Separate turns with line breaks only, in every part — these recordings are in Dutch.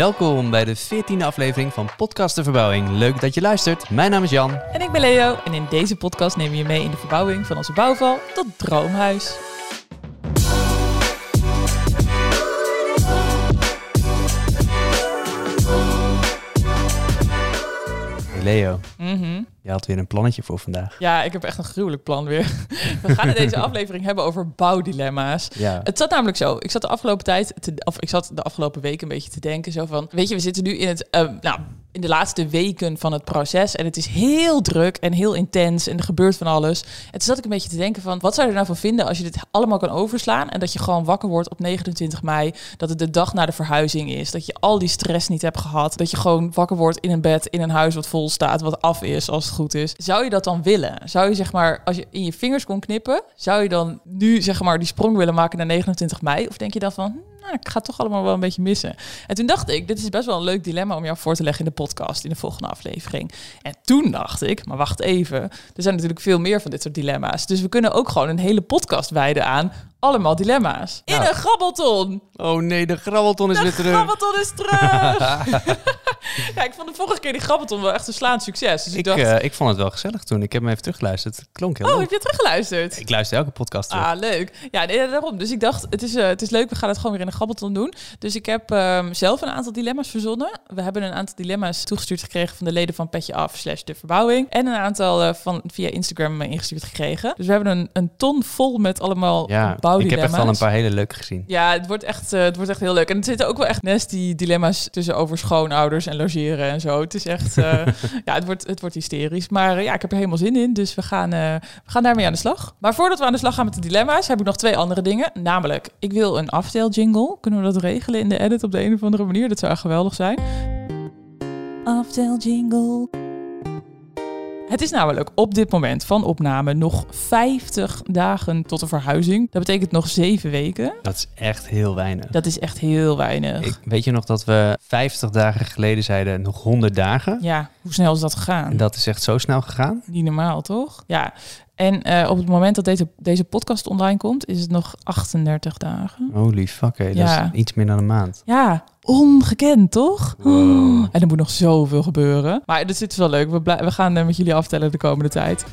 Welkom bij de 14e aflevering van Podcast de Verbouwing. Leuk dat je luistert. Mijn naam is Jan.
En ik ben Leo en in deze podcast nemen we je mee in de verbouwing van onze bouwval tot droomhuis.
Hey Leo,
Mhm.
je had weer een plannetje voor vandaag.
Ja, ik heb echt een gruwelijk plan weer. We gaan in deze aflevering hebben over bouwdilemma's.
Ja.
Het zat namelijk zo. Ik zat de afgelopen tijd, te, of ik zat de afgelopen week een beetje te denken. Zo van, weet je, we zitten nu in het, ehm, nou, in de laatste weken van het proces. En het is heel druk en heel intens en er gebeurt van alles. En toen zat ik een beetje te denken van, wat zou je er nou van vinden als je dit allemaal kan overslaan? En dat je gewoon wakker wordt op 29 mei. Dat het de dag na de verhuizing is. Dat je al die stress niet hebt gehad. Dat je gewoon wakker wordt in een bed, in een huis wat vol staat, wat af is als het goed is. Zou je dat dan willen? Zou je zeg maar, als je in je vingers kon knippen, zou je dan nu zeg maar die sprong willen maken naar 29 mei? Of denk je dan van, hm, nou, ik ga het toch allemaal wel een beetje missen? En toen dacht ik, dit is best wel een leuk dilemma om jou voor te leggen in de podcast, in de volgende aflevering. En toen dacht ik, maar wacht even, er zijn natuurlijk veel meer van dit soort dilemma's. Dus we kunnen ook gewoon een hele podcast wijden aan allemaal dilemma's. In
Nou.
een grabbelton!
Oh nee, de grabbelton is weer
De
terug.
grabbelton is terug! ja, ik vond de vorige keer die grabbelton wel echt een slaand succes. Dus ik,
Ik,
dacht,
eh, ik vond het wel gezellig toen. Ik heb hem even teruggeluisterd. Het klonk heel
oh,
leuk.
heb je het teruggeluisterd?
Ik luister elke podcast terug.
Ah, leuk. Ja, nee, daarom. Dus ik dacht, het is, eh, het is leuk, we gaan het gewoon weer in de grabbelton doen. Dus ik heb ehm, zelf een aantal dilemma's verzonnen. We hebben een aantal dilemma's toegestuurd gekregen van de leden van Petje Af slash De Verbouwing. En een aantal eh, van, via Instagram eh, ingestuurd gekregen. Dus we hebben een, een ton vol met allemaal
ja, ik
bouwdilemma's.
heb echt al een paar hele leuke gezien.
Ja, het wordt, echt, eh, het wordt echt heel leuk. En er zitten ook wel echt nasty dilemma's tussen over schoonouders en logeren en zo. Het is echt, eh, ja, het wordt, het wordt hysterisch. Maar eh, ja, ik heb er helemaal zin in, dus we gaan, eh, we gaan daarmee aan de slag. Maar voordat we aan de slag gaan met de dilemma's, heb ik nog twee andere dingen. Namelijk, ik wil een afteljingle. Kunnen we dat regelen in de edit op de een of andere manier? Dat zou echt geweldig zijn. Afteljingle. Het is namelijk op dit moment van opname nog 50 dagen tot de verhuizing. Dat betekent nog 7 weken.
Dat is echt heel weinig.
Dat is echt heel weinig.
Ik, weet je nog dat we 50 dagen geleden zeiden nog 100 dagen?
Ja, hoe snel is dat gegaan?
En dat is echt zo snel gegaan.
Niet normaal, toch? Ja. En eh, op het moment dat deze, deze podcast online komt, is het nog 38 dagen.
Holy fuck, hé.
Ja.
dat is iets meer dan een maand.
Ja, ongekend, toch? Oh,
Wow.
En er moet nog zoveel gebeuren. Maar dus dit is wel leuk. We, blij- we gaan eh, met jullie aftellen de komende tijd.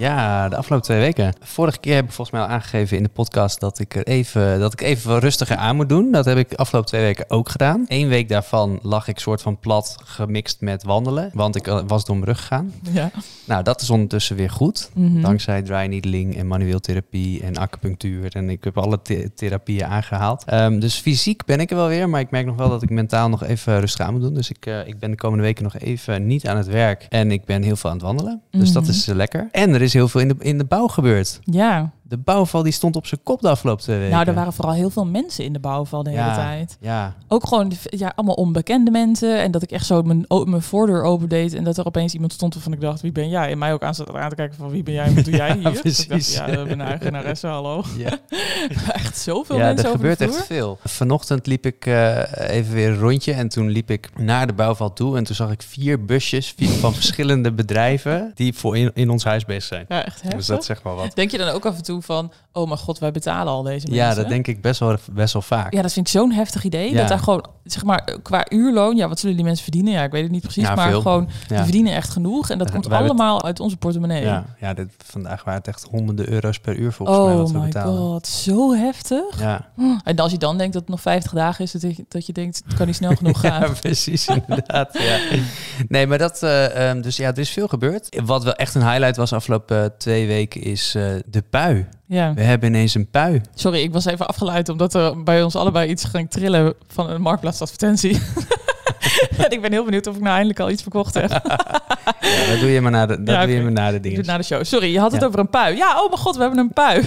Ja, de afgelopen twee weken. Vorige keer heb ik volgens mij al aangegeven in de podcast dat ik er even, dat ik even wat rustiger aan moet doen. Dat heb ik de afgelopen twee weken ook gedaan. Eén week daarvan lag ik soort van plat gemixt met wandelen, want ik eh, was door mijn rug gegaan.
Ja.
Nou, dat is ondertussen weer goed.
Mhm.
Dankzij dry needling en manueel therapie en acupunctuur. En ik heb alle the- therapieën aangehaald. Ehm, dus fysiek ben ik er wel weer. Maar ik merk nog wel dat ik mentaal nog even rustig aan moet doen. Dus ik, eh, ik ben de komende weken nog even niet aan het werk. En ik ben heel veel aan het wandelen. Dus dat
Mhm.
is eh, lekker. En er is heel veel in de, in de bouw gebeurd.
ja.
De bouwval die stond op zijn kop de afgelopen twee weken.
Nou, er waren vooral heel veel mensen in de bouwval de hele
Ja.
tijd.
Ja,
Ook gewoon ja, allemaal onbekende mensen. En dat ik echt zo mijn, o- mijn voordeur opendeed. En dat er opeens iemand stond waarvan ik dacht, wie ben jij? En mij ook aan zat aan te kijken van wie ben jij en wat doe jij
Ja,
hier? Dus ik
precies.
dacht, ja, ik ben eigenaresse, hallo.
ja.
Echt zoveel
ja
mensen
er
over de
gebeurt
vloer.
echt veel. Vanochtend liep ik eh, even weer een rondje en toen liep ik naar de bouwval toe. En toen zag ik vier busjes vier van verschillende bedrijven die voor in, in ons huis bezig zijn.
Ja, echt
Dus
heftig.
dat zegt maar wat.
Denk je dan ook af en toe van, oh mijn god, wij betalen al deze mensen?
Ja, dat denk ik best wel, best wel vaak.
Ja, dat vind ik zo'n heftig idee.
Ja.
Dat daar gewoon, zeg maar, qua uurloon, ja, wat zullen die mensen verdienen? Ja, ik weet het niet precies,
Ja,
maar
veel.
gewoon, die
Ja.
verdienen echt genoeg. En dat
Wij
komt
hebben-
allemaal uit onze portemonnee.
Ja, ja dit, vandaag waren het echt honderden euro's per uur volgens mij wat
oh
we
my
betalen.
god, zo heftig.
Ja.
En als je dan denkt dat het nog 50 dagen is, dat je, dat je denkt, het kan niet snel genoeg gaan.
ja, precies inderdaad. ja. Nee, maar dat, eh, ehm, dus ja, er is veel gebeurd. Wat wel echt een highlight was afgelopen eh, twee weken is eh, de pui.
Ja.
We hebben ineens een pui.
Sorry, ik was even afgeleid omdat er bij ons allebei iets ging trillen van een marktplaatsadvertentie. en ik ben heel benieuwd of ik nou eindelijk al iets verkocht heb.
Ja, dat doe je maar naar de, dat
Ja,
doe je
oké.
maar naar de
Ik
dingen.
doe het na de show. Sorry, je had het
Ja.
over een pui. Ja, oh mijn god, we hebben een pui.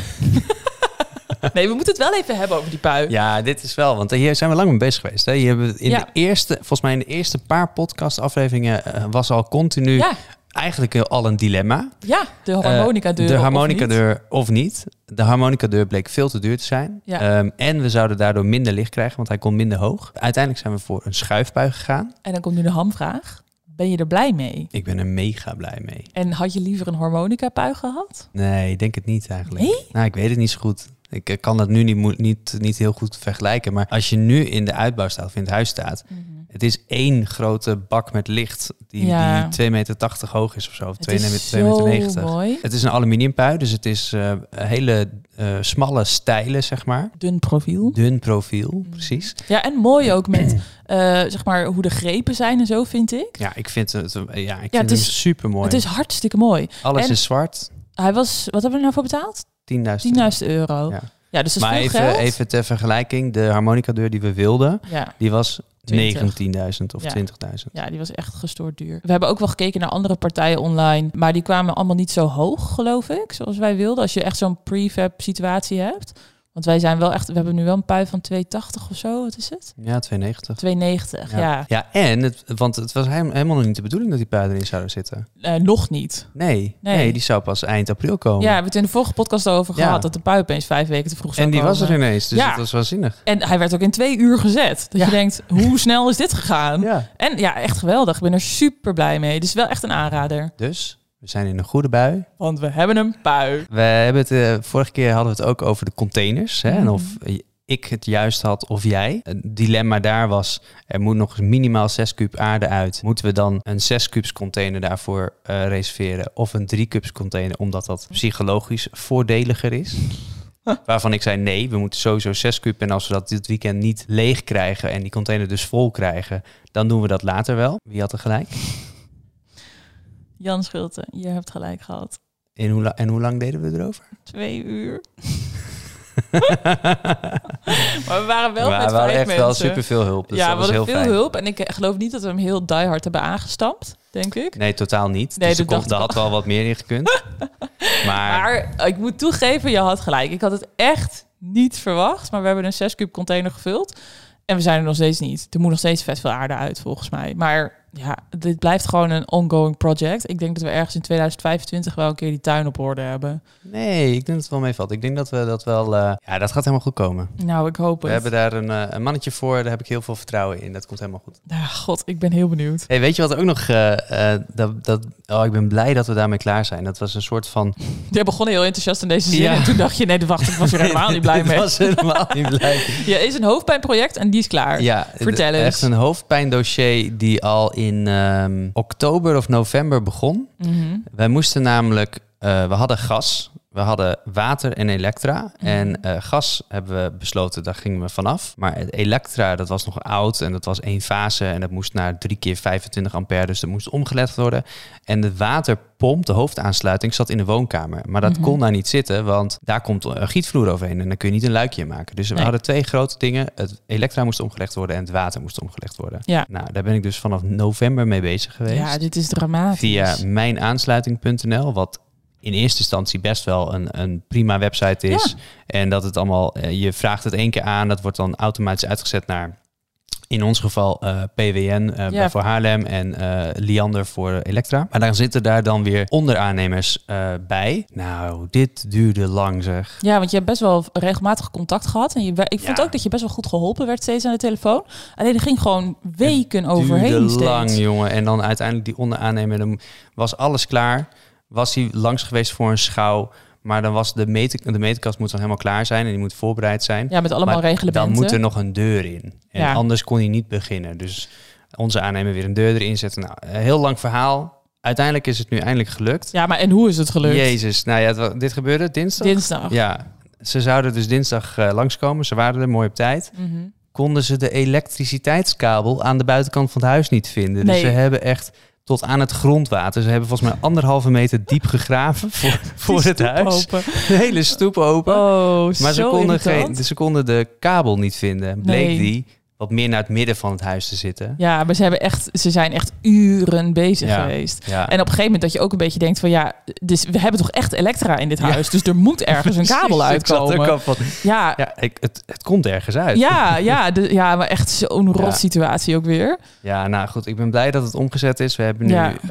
nee, we moeten het wel even hebben over die pui.
Ja, dit is wel, want hier zijn we lang mee bezig geweest. Hè? Hier hebben we in
Ja.
de eerste, volgens mij in de eerste paar podcastafleveringen eh, was al continu
ja,
eigenlijk al een dilemma.
ja, de harmonica deur.
Eh, de harmonica deur of niet. De harmonica deur bleek veel te duur te zijn.
Ja.
Ehm, en we zouden daardoor minder licht krijgen, want hij kon minder hoog. Uiteindelijk zijn we voor een schuifbui gegaan.
En dan komt nu de hamvraag. Ben je er blij mee?
Ik ben er mega blij mee.
En had je liever een harmonica pui gehad?
Nee, ik denk het niet eigenlijk.
Nee?
Nou, ik weet het niet zo goed. Ik eh, kan dat nu niet, moe- niet, niet heel goed vergelijken. Maar als je nu in de uitbouw staat of in het huis staat. Het is één grote bak met licht. Die,
Ja.
die 2,80 meter hoog is of zo. Of
Het
2,90
is
meter.
zo mooi.
Het is een aluminiumpui. Dus het is eh, een hele eh, smalle stijlen, zeg maar.
Dun profiel.
Dun
Mm.
profiel, precies.
Ja, en mooi ook met eh, zeg maar hoe de grepen zijn en zo, vind ik.
Ja, ik vind het, eh, ja, ik vind
het
het
is-
super mooi.
Het is hartstikke mooi.
Alles
en-
is zwart. 10.000
Hij was, wat hebben we er nou voor betaald? 10.000 euro.
Ja.
Ja, dus dat is
Maar
veel
even,
geld.
even ter vergelijking. De harmonica-deur die we wilden,
Ja.
die was
20.
19.000 of
Ja.
20.000.
ja, die was echt gestoord duur. We hebben ook wel gekeken naar andere partijen online, maar die kwamen allemaal niet zo hoog, geloof ik, zoals wij wilden. Als je echt zo'n prefab situatie hebt. Want wij zijn wel echt, we hebben nu wel een pui van 280 of zo, wat is het?
Ja, 290.
290, ja.
ja. en, het, want het was heim- helemaal nog niet de bedoeling dat die pui erin zouden zitten.
Eh, nog niet.
Nee, nee.
Nee.
die zou pas eind april komen.
Ja, we hebben het in de vorige podcast al over
Oh. Ja.
gehad, dat de pui opeens vijf weken te vroeg zou
en die was
komen.
er ineens, dus
Ja.
dat was waanzinnig.
En hij werd ook in twee uur gezet. Dat
Ja.
je denkt, hoe snel is dit gegaan?
Ja.
En ja, echt geweldig. Ik ben er super blij mee. Dus wel echt een aanrader.
Dus, we zijn in een goede bui.
Want we hebben een pui.
We hebben het, eh, vorige keer hadden we het ook over de containers. Hè, en
Mhm.
of ik het juist had of jij. Het dilemma daar was, er moet nog eens minimaal 6 kuub aarde uit. Moeten we dan een 6 kubus container daarvoor eh, reserveren? Of een 3 kubus container, omdat dat psychologisch voordeliger is? Waarvan ik zei, nee, we moeten sowieso 6 kuub. En als we dat dit weekend niet leeg krijgen en die container dus vol krijgen, dan doen we dat later wel. Wie had er gelijk?
Jan Schulte, je hebt gelijk gehad.
En hoe, la- en hoe lang deden we erover?
Twee uur. Maar we waren wel
maar
met
we hadden
vijf
echt
mensen.
wel superveel hulp. Dus
ja,
dat
we
was
hadden
heel
veel
fijn.
hulp. En ik eh, geloof niet dat we hem heel diehard hebben aangestampt, denk ik.
Nee, totaal niet.
Nee,
dus er,
dat
kon,
dacht
er
ik
had wel wat meer in gekund. maar,
Maar ik moet toegeven, je had gelijk. Ik had het echt niet verwacht. Maar we hebben een 6 cube container gevuld. En we zijn er nog steeds niet. Er moet nog steeds vet veel aarde uit, volgens mij. Maar ja, dit blijft gewoon een ongoing project. Ik denk dat we ergens in 2025 wel een keer die tuin op orde hebben.
nee, ik denk dat het wel meevalt. Ik denk dat we dat wel... eh, ja, dat gaat helemaal goed komen.
Nou, ik hoop
We
het.
hebben daar een, eh, een mannetje voor. Daar heb ik heel veel vertrouwen in. Dat komt helemaal goed.
Ah, God, ik ben heel benieuwd.
Hey, weet je wat ook nog... eh, eh, dat, dat, oh, ik ben blij dat we daarmee klaar zijn. Dat was een soort van...
Jij begon heel enthousiast in deze zin.
Ja.
En toen dacht je, nee, wacht, ik was er helemaal niet blij
Ik
mee.
was helemaal niet blij.
Je is een hoofdpijnproject en die is klaar.
Ja,
Vertel
d-
eens.
Echt een hoofdpijndossier die al in ehm, oktober of november begon.
Mhm.
Wij moesten namelijk, eh, we hadden gas, we hadden water en elektra.
Mhm.
En eh, gas hebben we besloten, daar gingen we vanaf. Maar het elektra, dat was nog oud en dat was één fase. En dat moest naar 3 keer 25 ampère, dus dat moest omgelegd worden. En de waterpomp, de hoofdaansluiting, zat in de woonkamer. Maar
Mhm.
dat kon daar niet zitten, want daar komt een gietvloer overheen. En dan kun je niet een luikje in maken. Dus we
Nee.
hadden twee grote dingen. Het elektra moest omgelegd worden en het water moest omgelegd worden.
Ja.
Nou, daar ben ik dus vanaf november mee bezig geweest
ja, dus dit is dramatisch.
via mijnaansluiting.nl, wat in eerste instantie best wel een, een prima website is. En dat het allemaal, eh, je vraagt het één keer aan, dat wordt dan automatisch uitgezet naar, in ons geval eh, PWN eh,
Ja.
voor Haarlem en eh, Liander voor Elektra. Maar dan zitten daar dan weer onderaannemers eh, bij. Nou, dit duurde lang zeg.
Ja, want je hebt best wel regelmatig contact gehad. En je, we- ik vond
Ja.
ook dat je best wel goed geholpen werd steeds aan de telefoon. Alleen er ging gewoon weken overheen
duurde
steeds.
lang, jongen. En dan uiteindelijk die onderaannemer, dan was alles klaar. Was hij langs geweest voor een schouw. Maar dan was de, meter, de meterkast moet dan helemaal klaar zijn en die moet voorbereid zijn.
Ja, met allemaal
Maar
reglementen.
Dan moet er nog een deur in. En
Ja.
anders kon hij niet beginnen. Dus onze aannemer weer een deur erin zetten. Nou, een heel lang verhaal. Uiteindelijk is het nu eindelijk gelukt.
Ja, maar en hoe is het gelukt?
Jezus, nou ja, het wa- dit gebeurde dinsdag.
Dinsdag.
Ja, ze zouden dus dinsdag eh, langskomen. Ze waren er mooi op tijd
Mhm.
konden ze de elektriciteitskabel aan de buitenkant van het huis niet vinden. Dus
Nee.
ze hebben echt tot aan het grondwater. Ze hebben volgens mij anderhalve meter diep gegraven voor, voor
Die
het
stoep
huis.
open.
De hele stoep open.
Oh,
maar ze
zo
konden,
irritant.
geen, ze konden de kabel niet vinden. Bleek
Nee.
die wat meer naar het midden van het huis te zitten.
Ja, maar ze, hebben echt, ze zijn echt uren bezig
Ja.
geweest.
Ja.
En op een gegeven moment dat je ook een beetje denkt van ja, dus we hebben toch echt elektra in dit
Ja.
huis. Dus er moet ergens een kabel
Precies, ik zat
uitkomen.
ook al van,
Ja,
ja, ik, het, het komt ergens uit.
ja, ja, de- ja, maar echt zo'n
Ja.
rot situatie ook weer.
Ja, nou goed, ik ben blij dat het omgezet is. We hebben nu
Ja.
eh,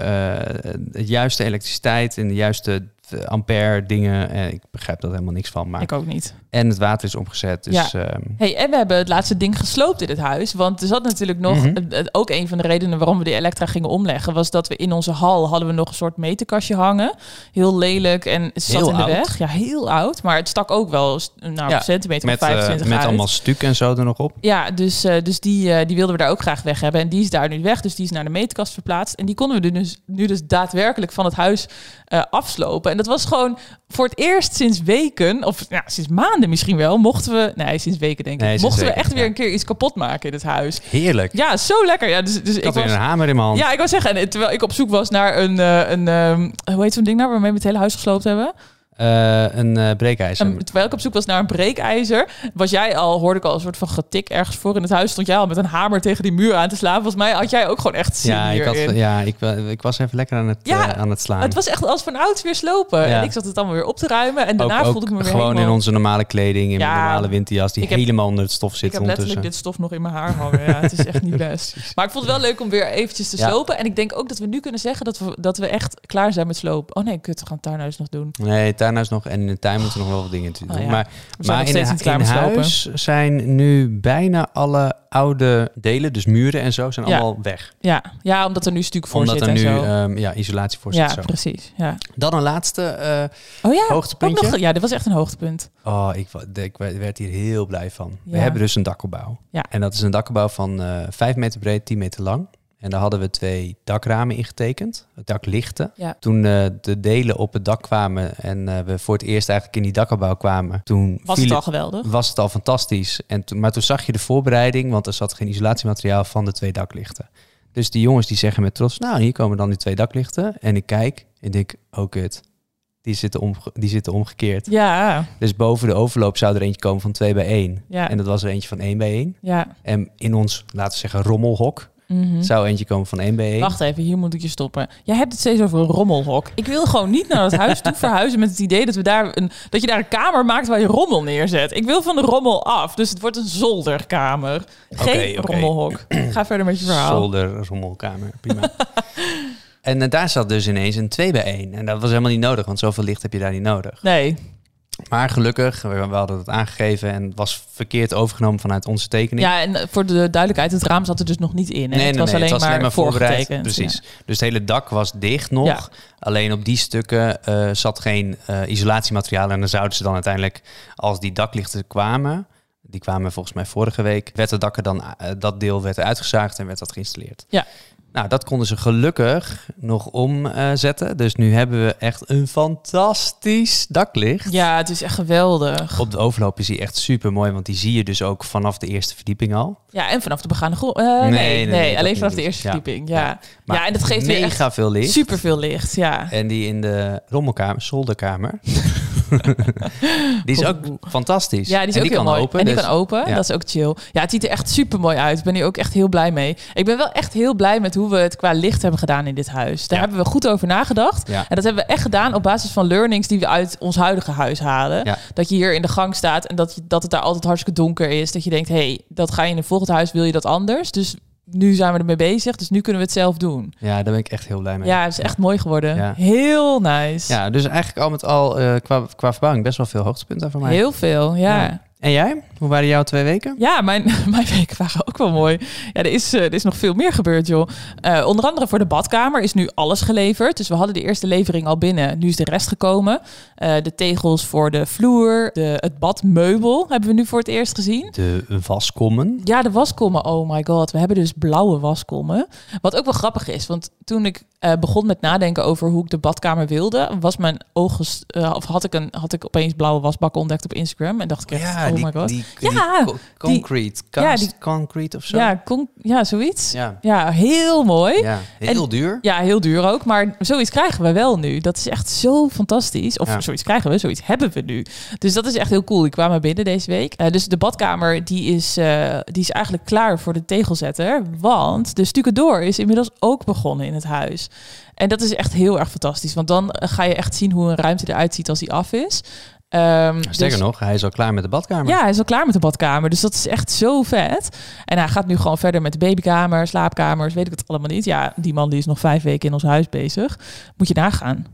de juiste elektriciteit en de juiste de ampère dingen. En ik begrijp dat helemaal niks van. Maar...
Ik ook niet.
En het water is omgezet. Dus, ja.
Hey, en we hebben het laatste ding gesloopt in het huis. Want er zat natuurlijk nog...
Mhm.
eh, eh, Ook een van de redenen waarom we de elektra gingen omleggen... was dat we in onze hal hadden we nog een soort meterkastje hangen. Heel lelijk en het zat
Heel
in de
oud.
weg. Ja, heel oud. Maar het stak ook wel s- nou,
Ja,
een centimeter
met,
of 25
eh, met
uit.
allemaal stuk en zo er nog op.
Ja, dus, eh, dus die, eh, die wilden we daar ook graag weg hebben. En die is daar nu weg, dus die is naar de meetkast verplaatst. En die konden we dus, nu dus daadwerkelijk van het huis eh, afslopen. En dat was gewoon voor het eerst sinds weken, of ja, sinds maanden misschien wel, mochten we... Nee, sinds weken denk ik.
Nee, sinds
mochten we
weken,
echt weer
ja.
een keer iets kapot maken in het huis.
Heerlijk.
Ja, zo lekker. Ja, dus, dus
ik
ik
had weer
was...
een hamer in mijn hand.
Ja, ik wou zeggen, en terwijl ik op zoek was naar een, eh, een eh, hoe heet zo'n ding nou, waarmee we het hele huis gesloopt hebben?
Eh, een eh breekijzer.
En terwijl ik op zoek was naar een breekijzer, was jij al, hoorde ik al een soort van getik ergens voor in het huis. Stond jij al met een hamer tegen die muur aan te slaan. Volgens mij had jij ook gewoon echt zin
ja, ik had,
hierin.
ja ik, wa- ik was even lekker aan het,
Ja,
eh, aan het slaan.
Het was echt als van ouds weer slopen.
Ja.
En ik zat het allemaal weer op te ruimen. En daarna
ook,
voelde
ook
ik me weer
gewoon
helemaal...
in onze normale kleding, in
Ja.
mijn normale winterjas, die
Ik heb-
helemaal onder het stof
Ik
zit
heb letterlijk
ondertussen.
dit stof nog in mijn haar hangen. Ja, het is echt niet best. Maar ik vond het wel leuk om weer eventjes te
Ja.
slopen. En ik denk ook dat we nu kunnen zeggen dat we, dat we echt klaar zijn met slopen. Oh nee, kut, we gaan het tuinhuis nog doen.
Nee, tuinhuis nog en in de tuin moeten nog wel wat dingen te doen.
Oh ja.
Maar,
We
maar
zijn nog
in,
steeds niet klaar
in
met slopen.
huis zijn nu bijna alle oude delen, dus muren en zo, zijn
Ja.
allemaal weg.
Ja. ja, omdat er nu stuk voor
Omdat
zit
er
en
nu
zo.
ehm, ja, isolatie voor zit.
ja,
zo.
precies. Ja.
Dan een laatste eh,
Oh ja, ook
hoogtepuntje.
nog, ja, dit was echt een hoogtepunt.
Oh, ik, wa- de- ik wa- werd hier heel blij van. We
Ja.
hebben dus een dakopbouw.
Ja.
En dat is een dakopbouw van eh 5 meter breed, 10 meter lang. En daar hadden we twee dakramen ingetekend, daklichten.
Ja.
Toen eh, de delen op het dak kwamen en eh, we voor het eerst eigenlijk in die dakopbouw kwamen, toen
Was
viel
het al geweldig?
was het al fantastisch. En toen- maar toen zag je de voorbereiding, want er zat geen isolatiemateriaal van de twee daklichten. Dus die jongens die zeggen met trots, nou hier komen dan die twee daklichten. En ik kijk en denk, oh kut, die zitten, omge- die zitten omgekeerd.
Ja,
Dus boven de overloop zou er eentje komen van 2 bij 1.
ja,
En dat was er eentje van 1 bij 1.
ja.
En in ons, laten we zeggen, rommelhok
mhm.
zou eentje komen van 1 bij 1.
Wacht even, hier moet ik je stoppen. Jij hebt het steeds over een rommelhok. Ik wil gewoon niet naar het huis toe verhuizen met het idee dat, we daar een, dat je daar een kamer maakt waar je rommel neerzet. Ik wil van de rommel af, dus het wordt een zolderkamer. Geen
Oké, oké.
rommelhok. Ga verder met je verhaal.
Zolder, rommelkamer, prima. en eh, daar zat dus ineens een 2 bij 1. En dat was helemaal niet nodig, want zoveel licht heb je daar niet nodig.
Nee,
Maar gelukkig, we, we hadden het aangegeven en het was verkeerd overgenomen vanuit onze tekening.
ja, en eh, voor de duidelijkheid, het raam zat er dus nog niet in. Hè? het was, alleen, maar voorgetekend.
Precies.
Ja.
Dus het hele dak was dicht nog.
Ja.
Alleen op die stukken eh, zat geen eh, isolatiemateriaal. En dan zouden ze dan uiteindelijk, als die daklichten kwamen, die kwamen volgens mij vorige week, werd het dak er dan, eh, dat deel werd uitgezaagd en werd dat geïnstalleerd.
Ja.
Nou, dat konden ze gelukkig nog omzetten. dus nu hebben we echt een fantastisch daklicht.
Ja, het is echt geweldig.
Op de overloop is die echt super mooi, want die zie je dus ook vanaf de eerste verdieping al.
Ja, en vanaf de begane grond. eh, nee, nee,
nee, nee, dat
alleen
moet
vanaf
je
de
niet.
eerste
Ja,
verdieping.
ja.
Ja, ja. en dat geeft weer echt
mega veel licht.
super veel licht. Ja.
En die in de rommelkamer, zolderkamer. die is ook fantastisch.
Ja, die is
en
ook heel mooi.
Open,
en die
dus-
kan open.
ja.
Dat is ook chill. Ja, het ziet er echt super mooi uit. Ik ben hier ook echt heel blij mee. Ik ben wel echt heel blij met hoe we het qua licht hebben gedaan in dit huis. Daar
Ja.
hebben we goed over nagedacht.
Ja.
En dat hebben we echt gedaan op basis van learnings die we uit ons huidige huis halen.
Ja.
Dat je hier in de gang staat en dat, je, dat het daar altijd hartstikke donker is. Dat je denkt, hé, hey, dat ga je in een volgend huis, wil je dat anders? Dus nu zijn we ermee bezig. Dus nu kunnen we het zelf doen.
ja, daar ben ik echt heel blij mee.
Ja, het is echt mooi geworden.
Ja.
Heel nice.
Ja, dus eigenlijk al met al eh, qua, qua verbouwing best wel veel hoogtepunten voor mij.
Heel veel, ja.
Ja. En jij? Hoe waren jouw twee weken?
Ja, mijn, mijn weken waren ook wel mooi. Ja, er is, eh, er is nog veel meer gebeurd, joh. Eh, onder andere voor de badkamer is nu alles geleverd. Dus we hadden de eerste levering al binnen. Nu is de rest gekomen. Eh, de tegels voor de vloer, de, het badmeubel hebben we nu voor het eerst gezien.
De waskommen.
Ja, de waskommen. Oh my god, we hebben dus blauwe waskommen. Wat ook wel grappig is, want toen ik eh, begon met nadenken over hoe ik de badkamer wilde, was mijn ogen s- eh, of had ik een had ik opeens blauwe wasbakken ontdekt op Instagram en dacht ik echt, oh my god.
Die,
Ja,
co- concrete.
die-
cast concrete of zo.
ja, kon, ja, zoiets.
ja.
Ja, heel mooi. Ja.
Ja, heel duur.
heel duur ook. Maar zoiets krijgen we wel nu. Dat is echt zo fantastisch. Of
Ja.
zoiets krijgen we, zoiets hebben we nu. Dus dat is echt heel cool. Die kwamen binnen deze week. Eh, dus de badkamer die is, eh, die is eigenlijk klaar voor de tegelzetter. Want de stukendoor is inmiddels ook begonnen in het huis. En dat is echt heel erg fantastisch. Want dan eh, ga je echt zien hoe een ruimte eruit ziet als die af is. Ehm,
Sterker
dus-
nog, hij is al klaar met de badkamer.
ja, hij is al klaar met de badkamer. Dus dat is echt zo vet. En hij gaat nu gewoon verder met de babykamer, slaapkamers, weet ik het allemaal niet. Ja, die man die is nog vijf weken in ons huis bezig. Moet je nagaan. Oké,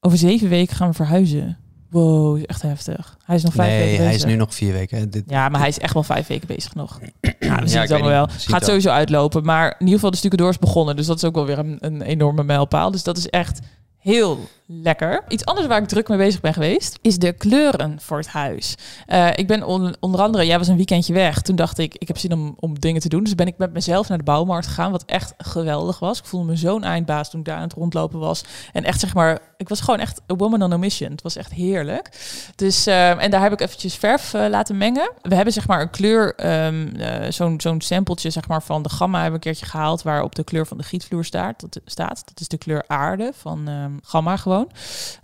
Over zeven weken gaan we verhuizen. Wow, is echt heftig. Hij is nog vijf weken
nee,
bezig.
hij is nu nog vier weken. hè. Dit,
Ja, maar hij is echt wel vijf weken bezig nog. Ja, we
Ja,
zien
ik
het
weet
allemaal wel.
niet. Zie het
Gaat
wel.
sowieso uitlopen. Maar in ieder geval de stukken door is begonnen. Dus dat is ook wel weer een, een enorme mijlpaal. Dus dat is echt heel lekker. Iets anders waar ik druk mee bezig ben geweest... is de kleuren voor het huis. Eh, ik ben on- onder andere... Jij was een weekendje weg. Toen dacht ik, ik heb zin om, om dingen te doen. Dus ben ik met mezelf naar de bouwmarkt gegaan. Wat echt geweldig was. Ik voelde me zo'n eindbaas toen ik daar aan het rondlopen was. En echt zeg maar... Ik was gewoon echt a woman on a mission. Het was echt heerlijk. Dus, ehm, en daar heb ik eventjes verf eh, laten mengen. We hebben zeg maar een kleur, ehm, eh, zo'n zo'n sampletje zeg maar, van de gamma hebben we een keertje gehaald... waarop de kleur van de gietvloer staat. Dat, staat. dat is de kleur aarde van ehm, gamma gewoon.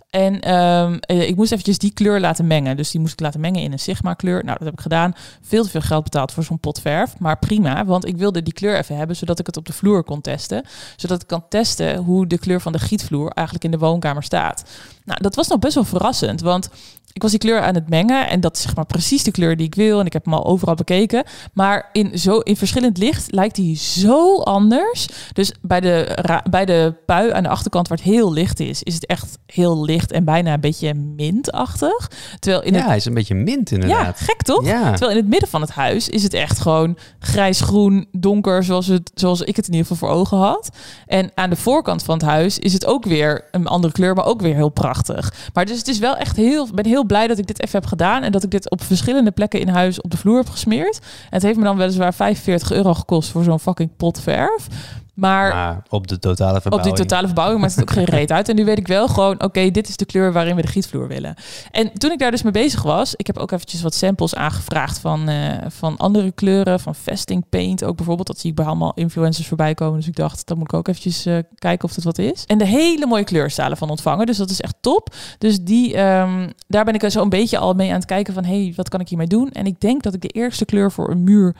En ehm, eh, ik moest eventjes die kleur laten mengen. Dus die moest ik laten mengen in een sigma kleur. Nou, dat heb ik gedaan. Veel te veel geld betaald voor zo'n pot verf. Maar prima, want ik wilde die kleur even hebben... zodat ik het op de vloer kon testen. Zodat ik kan testen hoe de kleur van de gietvloer eigenlijk in de woonkamer staat. Nou, dat was nog best wel verrassend, want ik was die kleur aan het mengen en dat is zeg maar precies de kleur die ik wil en ik heb hem al overal bekeken. Maar in, zo, in verschillend licht lijkt hij zo anders. Dus bij de, ra- bij de pui aan de achterkant waar het heel licht is, is het echt heel licht en bijna een beetje mintachtig. Terwijl in
ja,
het,
hij is een beetje mint
ja
inderdaad.
gek toch?
Ja.
Terwijl in het midden van het huis is het echt gewoon grijs-groen, donker, zoals, het, zoals ik het in ieder geval voor ogen had. En aan de voorkant van het huis is het ook weer een andere kleur, maar ook weer heel prachtig. Maar dus het is wel echt heel, ik ben heel blij dat ik dit even heb gedaan en dat ik dit op verschillende plekken in huis op de vloer heb gesmeerd. En het heeft me dan weliswaar 45 euro gekost voor zo'n fucking pot verf. Maar
Maar op de totale verbouwing.
op die totale verbouwing maakt het ook geen reet uit. En nu weet ik wel gewoon, oké, dit is de kleur waarin we de gietvloer willen. En toen ik daar dus mee bezig was, ik heb ook eventjes wat samples aangevraagd van, eh, van andere kleuren, van vesting paint ook bijvoorbeeld. Dat zie ik bij allemaal influencers voorbij komen. Dus ik dacht, dan moet ik ook eventjes eh, kijken of dat wat is. En de hele mooie kleurstalen van ontvangen, dus dat is echt top. Dus die, ehm, daar ben ik zo een beetje al mee aan het kijken van, hey, wat kan ik hiermee doen? En ik denk dat ik de eerste kleur voor een muur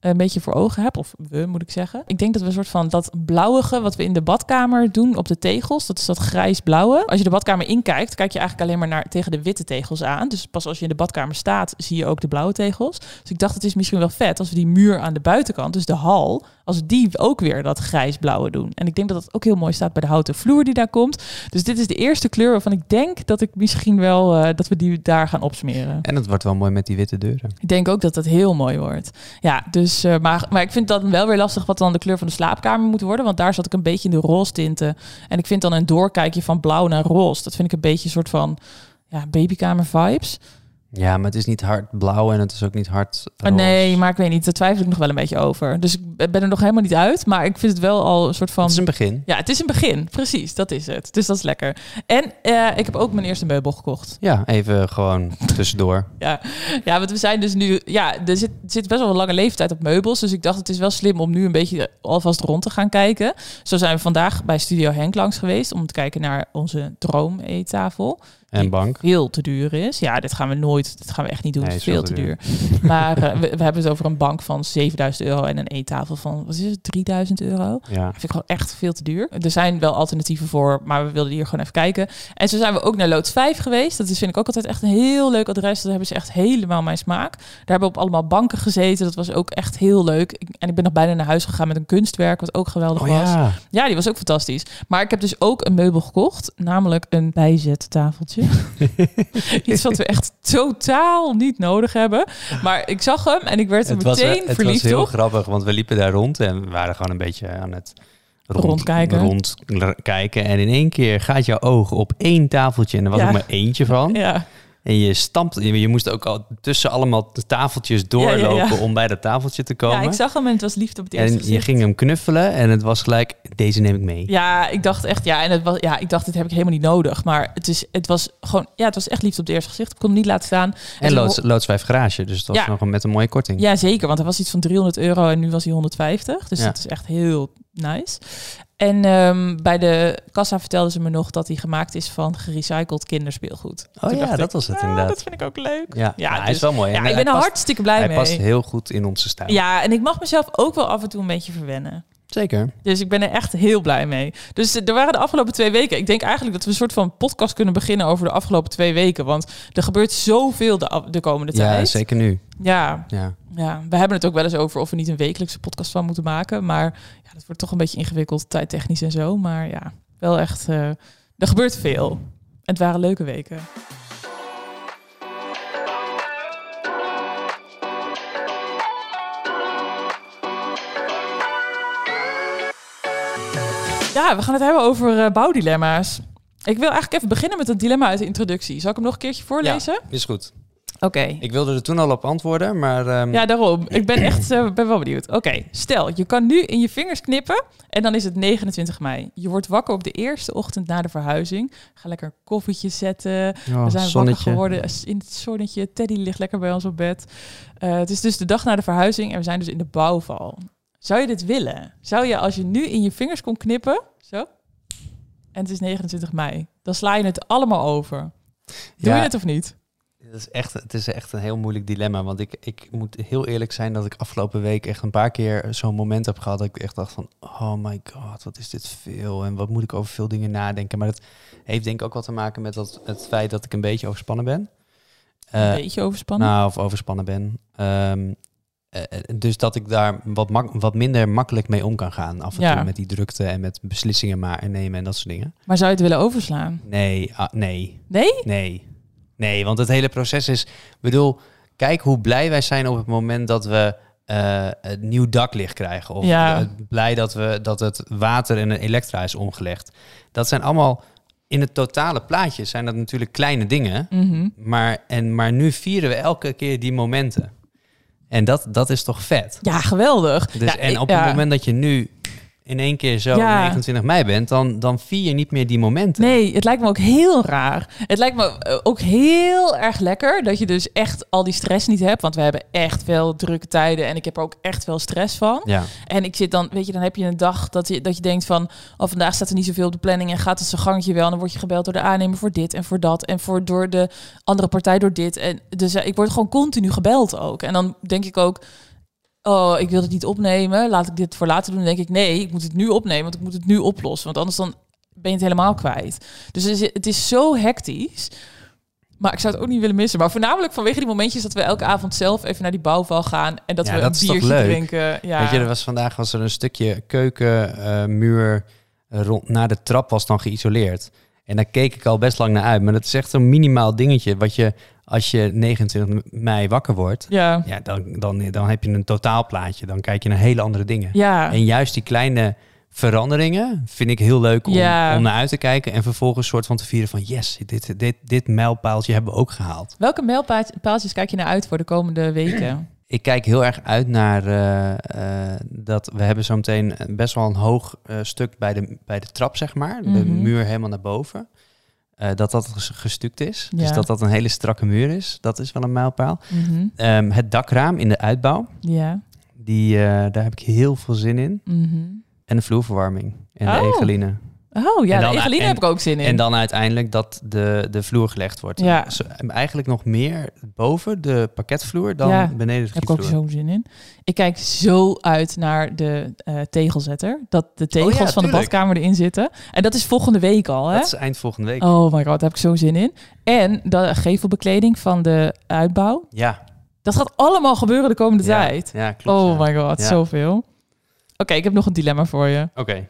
een beetje voor ogen heb. Of we, moet ik zeggen. Ik denk dat we een soort van dat blauwige wat we in de badkamer doen op de tegels. Dat is dat grijs-blauwe. Als je de badkamer inkijkt, kijk je eigenlijk alleen maar naar, tegen de witte tegels aan. Dus pas als je in de badkamer staat, zie je ook de blauwe tegels. Dus ik dacht, het is misschien wel vet als we die muur aan de buitenkant, dus de hal, als we die ook weer dat grijs-blauwe doen. En ik denk dat dat ook heel mooi staat bij de houten vloer die daar komt. Dus dit is de eerste kleur waarvan ik denk dat ik misschien wel, eh, dat we die daar gaan opsmeren.
En dat wordt wel mooi met die witte deuren.
Ik denk ook dat dat heel mooi wordt. Ja, dus, eh, maar, maar ik vind dan wel weer lastig wat dan de kleur van de slaapkamer moet worden. Want daar zat ik een beetje in de roze tinten. En ik vind dan een doorkijkje van blauw naar roze. Dat vind ik een beetje een soort van ja, babykamer vibes.
Ja, maar het is niet hard blauw en het is ook niet hard
Maar
roze.
Oh, nee, maar ik weet niet. Daar twijfel ik nog wel een beetje over. Dus ik ben er nog helemaal niet uit. Maar ik vind het wel al een soort
Het
van...
is een begin.
Ja, het is een begin. Precies, dat is het. Dus dat is lekker. En eh, ik heb ook mijn eerste meubel gekocht.
Ja, even gewoon tussendoor.
Ja, want we zijn dus nu. Ja, er zit, zit best wel een lange leeftijd op meubels. Dus ik dacht, het is wel slim om nu een beetje alvast rond te gaan kijken. Zo zijn we vandaag bij Studio Henk langs geweest om te kijken naar onze droomeettafel.
En bank.
Veel te duur is. Ja, dit gaan we nooit. Dit gaan we echt niet doen.
Nee,
het is veel te duur. Maar eh, we, we hebben het over een bank van 7000 euro en een eettafel van wat is het, 3000 euro.
Ja.
Dat vind ik gewoon echt veel te duur. Er zijn wel alternatieven voor, maar we wilden hier gewoon even kijken. En zo zijn we ook naar Loods 5 geweest. Dat is, vind ik ook altijd echt een heel leuk adres. Dat hebben ze echt helemaal mijn smaak. Daar hebben we op allemaal banken gezeten. Dat was ook echt heel leuk. Ik- en ik ben nog bijna naar huis gegaan met een kunstwerk, wat ook geweldig
Oh
was.
ja.
Ja, die was ook fantastisch. Maar ik heb dus ook een meubel gekocht, namelijk een bijzettafeltje. Iets wat we echt totaal niet nodig hebben. Maar ik zag hem en ik werd er
Het was,
meteen
eh, het was
verliefd
heel
op.
grappig, want we liepen daar rond en we waren gewoon een beetje aan het rond-
Rondkijken.
rondkijken. En in één keer gaat jouw oog op één tafeltje en er was
Ja.
er maar eentje van.
Ja.
En je stampt, je je moest ook al tussen allemaal de tafeltjes doorlopen
Ja, ja, ja.
om bij dat tafeltje te komen.
ja, ik zag hem en het was liefde op het eerste
en je
gezicht.
ging hem knuffelen en het was gelijk, deze neem ik mee.
Ja, ik dacht echt, ja, en het was, ja, ik dacht, dit heb ik helemaal niet nodig. Maar het, is, het was gewoon, ja, het was echt liefde op het eerste gezicht. Ik kon hem niet laten staan.
En
toen-
loods, loods 5 garage, dus dat was
dus Ja.
nog een, met een mooie korting.
Ja, zeker, want er was iets van 300 euro en nu was hij 150. Dus
Ja.
dat is echt heel nice. En ehm, bij de kassa vertelden ze me nog dat hij gemaakt is van gerecycled kinderspeelgoed.
Oh
Toen
ja,
dacht
dat was het
ah,
inderdaad.
Dat vind ik ook leuk.
Ja,
Ja,
maar hij
dus-
is wel mooi.
Ja,
En
ik
hij
ben er
past-
hartstikke blij
Hij
mee.
past heel goed in onze stijl.
ja, en ik mag mezelf ook wel af en toe een beetje verwennen.
Zeker.
Dus ik ben er echt heel blij mee. Dus eh, er waren de afgelopen twee weken. Ik denk eigenlijk dat we een soort van podcast kunnen beginnen over de afgelopen twee weken. Want er gebeurt zoveel de, af- de komende tijd.
Ja, zeker nu.
Ja,
Ja.
ja, we hebben het ook wel eens over of we niet een wekelijkse podcast van moeten maken. Maar ja, dat wordt toch een beetje ingewikkeld, tijdtechnisch en zo. Maar ja, wel echt. eh, er gebeurt veel. Het waren leuke weken. Ja, we gaan het hebben over eh, bouwdilemma's. Ik wil eigenlijk even beginnen met het dilemma uit de introductie. Zal ik hem nog een keertje voorlezen?
Is goed.
Oké.
Ik wilde er toen al op antwoorden, maar ehm,
Ja, daarom. Ik ben echt eh, ben wel benieuwd. Oké, stel, je kan nu in je vingers knippen en dan is het 29 mei. Je wordt wakker op de eerste ochtend na de verhuizing. Ga lekker een koffietje zetten.
oh,
We zijn wakker
zonnetje.
geworden in het zonnetje. Teddy ligt lekker bij ons op bed. Eh, het is dus de dag na de verhuizing en we zijn dus in de bouwval. Zou je dit willen? Zou je als je nu in je vingers kon knippen, zo, en het is 29 mei, dan sla je het allemaal over. Doe
Ja.
je het of niet?
Het is, echt, het is echt een heel moeilijk dilemma. Want ik, ik moet heel eerlijk zijn dat ik afgelopen week echt een paar keer zo'n moment heb gehad. Dat ik echt dacht van, oh my god, wat is dit veel. En wat moet ik over veel dingen nadenken. Maar dat heeft denk ik ook wel te maken met dat, het feit dat ik een beetje overspannen ben. Eh,
Beetje overspannen.
nou, of overspannen ben. Ehm, eh, eh, dus dat ik daar wat, mak- wat minder makkelijk mee om kan gaan. Af en
Ja.
toe met die drukte en met beslissingen maar nemen en dat soort dingen.
Maar zou je het willen overslaan?
Nee, ah, nee.
Nee?
Nee. Nee, want het hele proces is... bedoel, kijk hoe blij wij zijn op het moment dat we eh een nieuw daklicht krijgen. Of
Ja.
eh, blij dat, we, dat het water en een elektra is omgelegd. Dat zijn allemaal... In het totale plaatje zijn dat natuurlijk kleine dingen.
Mhm.
Maar, en, maar nu vieren we elke keer die momenten. En dat, dat is toch vet?
Ja, geweldig.
Dus,
ja,
en
ik-
op
ja.
het moment dat je nu in één keer zo
Ja.
29 mei bent... Dan, dan vier je niet meer die momenten.
Nee, het lijkt me ook heel raar. Het lijkt me eh, ook heel erg lekker dat je dus echt al die stress niet hebt. Want we hebben echt veel drukke tijden en ik heb er ook echt veel stress van.
Ja.
En ik zit dan, weet je, dan heb je een dag dat je, dat je denkt van... Oh, vandaag staat er niet zoveel op de planning en gaat het zijn gangetje wel. En dan word je gebeld door de aannemer voor dit en voor dat. En voor door de andere partij door dit. En dus eh, ik word gewoon continu gebeld ook. En dan denk ik ook... Oh, ik wil het niet opnemen. Laat ik dit voor later doen. Dan denk ik, nee, ik moet het nu opnemen. Want ik moet het nu oplossen. Want anders dan ben je het helemaal kwijt. Dus het is, het is zo hectisch. Maar ik zou het ook niet willen missen. Maar voornamelijk vanwege die momentjes dat we elke avond zelf even naar die bouwval gaan. En dat
Ja,
we
dat is
een
toch
biertje
leuk?
drinken. Ja.
Weet je, er was vandaag was er een stukje keukenmuur eh, rond naar de trap was dan geïsoleerd. En daar keek ik al best lang naar uit. Maar dat is echt zo'n minimaal dingetje. Wat je als je 29 mei wakker wordt,
Ja.
ja, dan, dan, dan heb je een totaalplaatje. Dan kijk je naar hele andere dingen.
Ja.
En juist die kleine veranderingen vind ik heel leuk om,
Ja.
om naar uit te kijken. En vervolgens soort van te vieren van yes, dit, dit, dit mijlpaaltje hebben we ook gehaald.
Welke mijlpaaltjes kijk je naar uit voor de komende weken?
Ik kijk heel erg uit naar eh, eh, dat we hebben zo meteen best wel een hoog eh, stuk bij de, bij de trap, zeg maar. De
Mhm.
muur helemaal naar boven. Eh, dat dat ges- gestuukt is. Dus
Ja.
dat dat een hele strakke muur is. Dat is wel een mijlpaal. Ehm, het dakraam in de uitbouw.
Mhm. Ja.
Die, eh, daar heb ik heel veel zin in. En de vloerverwarming. En
Oh.
de egeline.
Oh ja,
En dan-
de Egeline
en-
heb ik ook zin in.
En dan uiteindelijk dat de, de vloer gelegd wordt.
Ja.
Zo- eigenlijk nog meer boven de pakketvloer dan
Ja.
beneden de
heb ik ook
gietvloer.
zo'n zin in. Ik kijk zo uit naar de eh, tegelzetter. Dat de tegels
Oh ja,
van de
tuurlijk.
badkamer erin zitten. En dat is volgende week al. Hè?
Dat is eind volgende week.
Oh my god, daar heb ik zo'n zin in. En de gevelbekleding van de uitbouw.
Ja.
Dat gaat allemaal gebeuren de komende
Ja,
tijd.
Ja, klopt.
oh
ja.
my god,
Ja.
zoveel. Oké, ik heb nog een dilemma voor je.
Oké.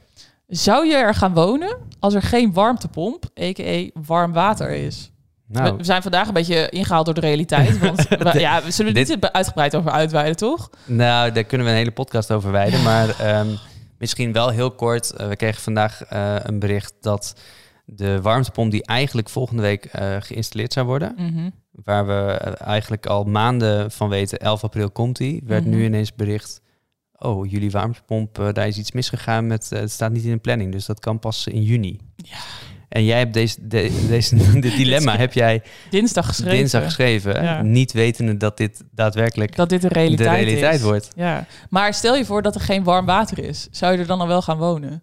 Zou je er gaan wonen als er geen warmtepomp, a.k.a. warm water is? We,
Nou,
we zijn vandaag een beetje ingehaald door de realiteit. Want we, ja, we zullen er
Dit-
niet uitgebreid over uitweiden, toch?
nou, daar kunnen we een hele podcast over wijden. Maar ehm, misschien wel heel kort. Eh, we kregen vandaag eh, een bericht dat de warmtepomp die eigenlijk volgende week eh, geïnstalleerd zou worden.
Mhm.
Waar we eh, eigenlijk al maanden van weten, 11 april komt die. Werd
Mhm.
nu ineens bericht, oh, jullie warmtepomp, eh, daar is iets misgegaan. Met, eh, het staat niet in de planning, dus dat kan pas in juni.
Ja.
En jij hebt deze, de- deze dit dilemma heb jij
Dinsdag geschreven.
dinsdag geschreven.
Ja.
Niet wetende dat dit daadwerkelijk
Dat dit de realiteit,
de realiteit
is.
wordt.
Ja. Maar stel je voor dat er geen warm water is. Zou je er dan al wel gaan wonen?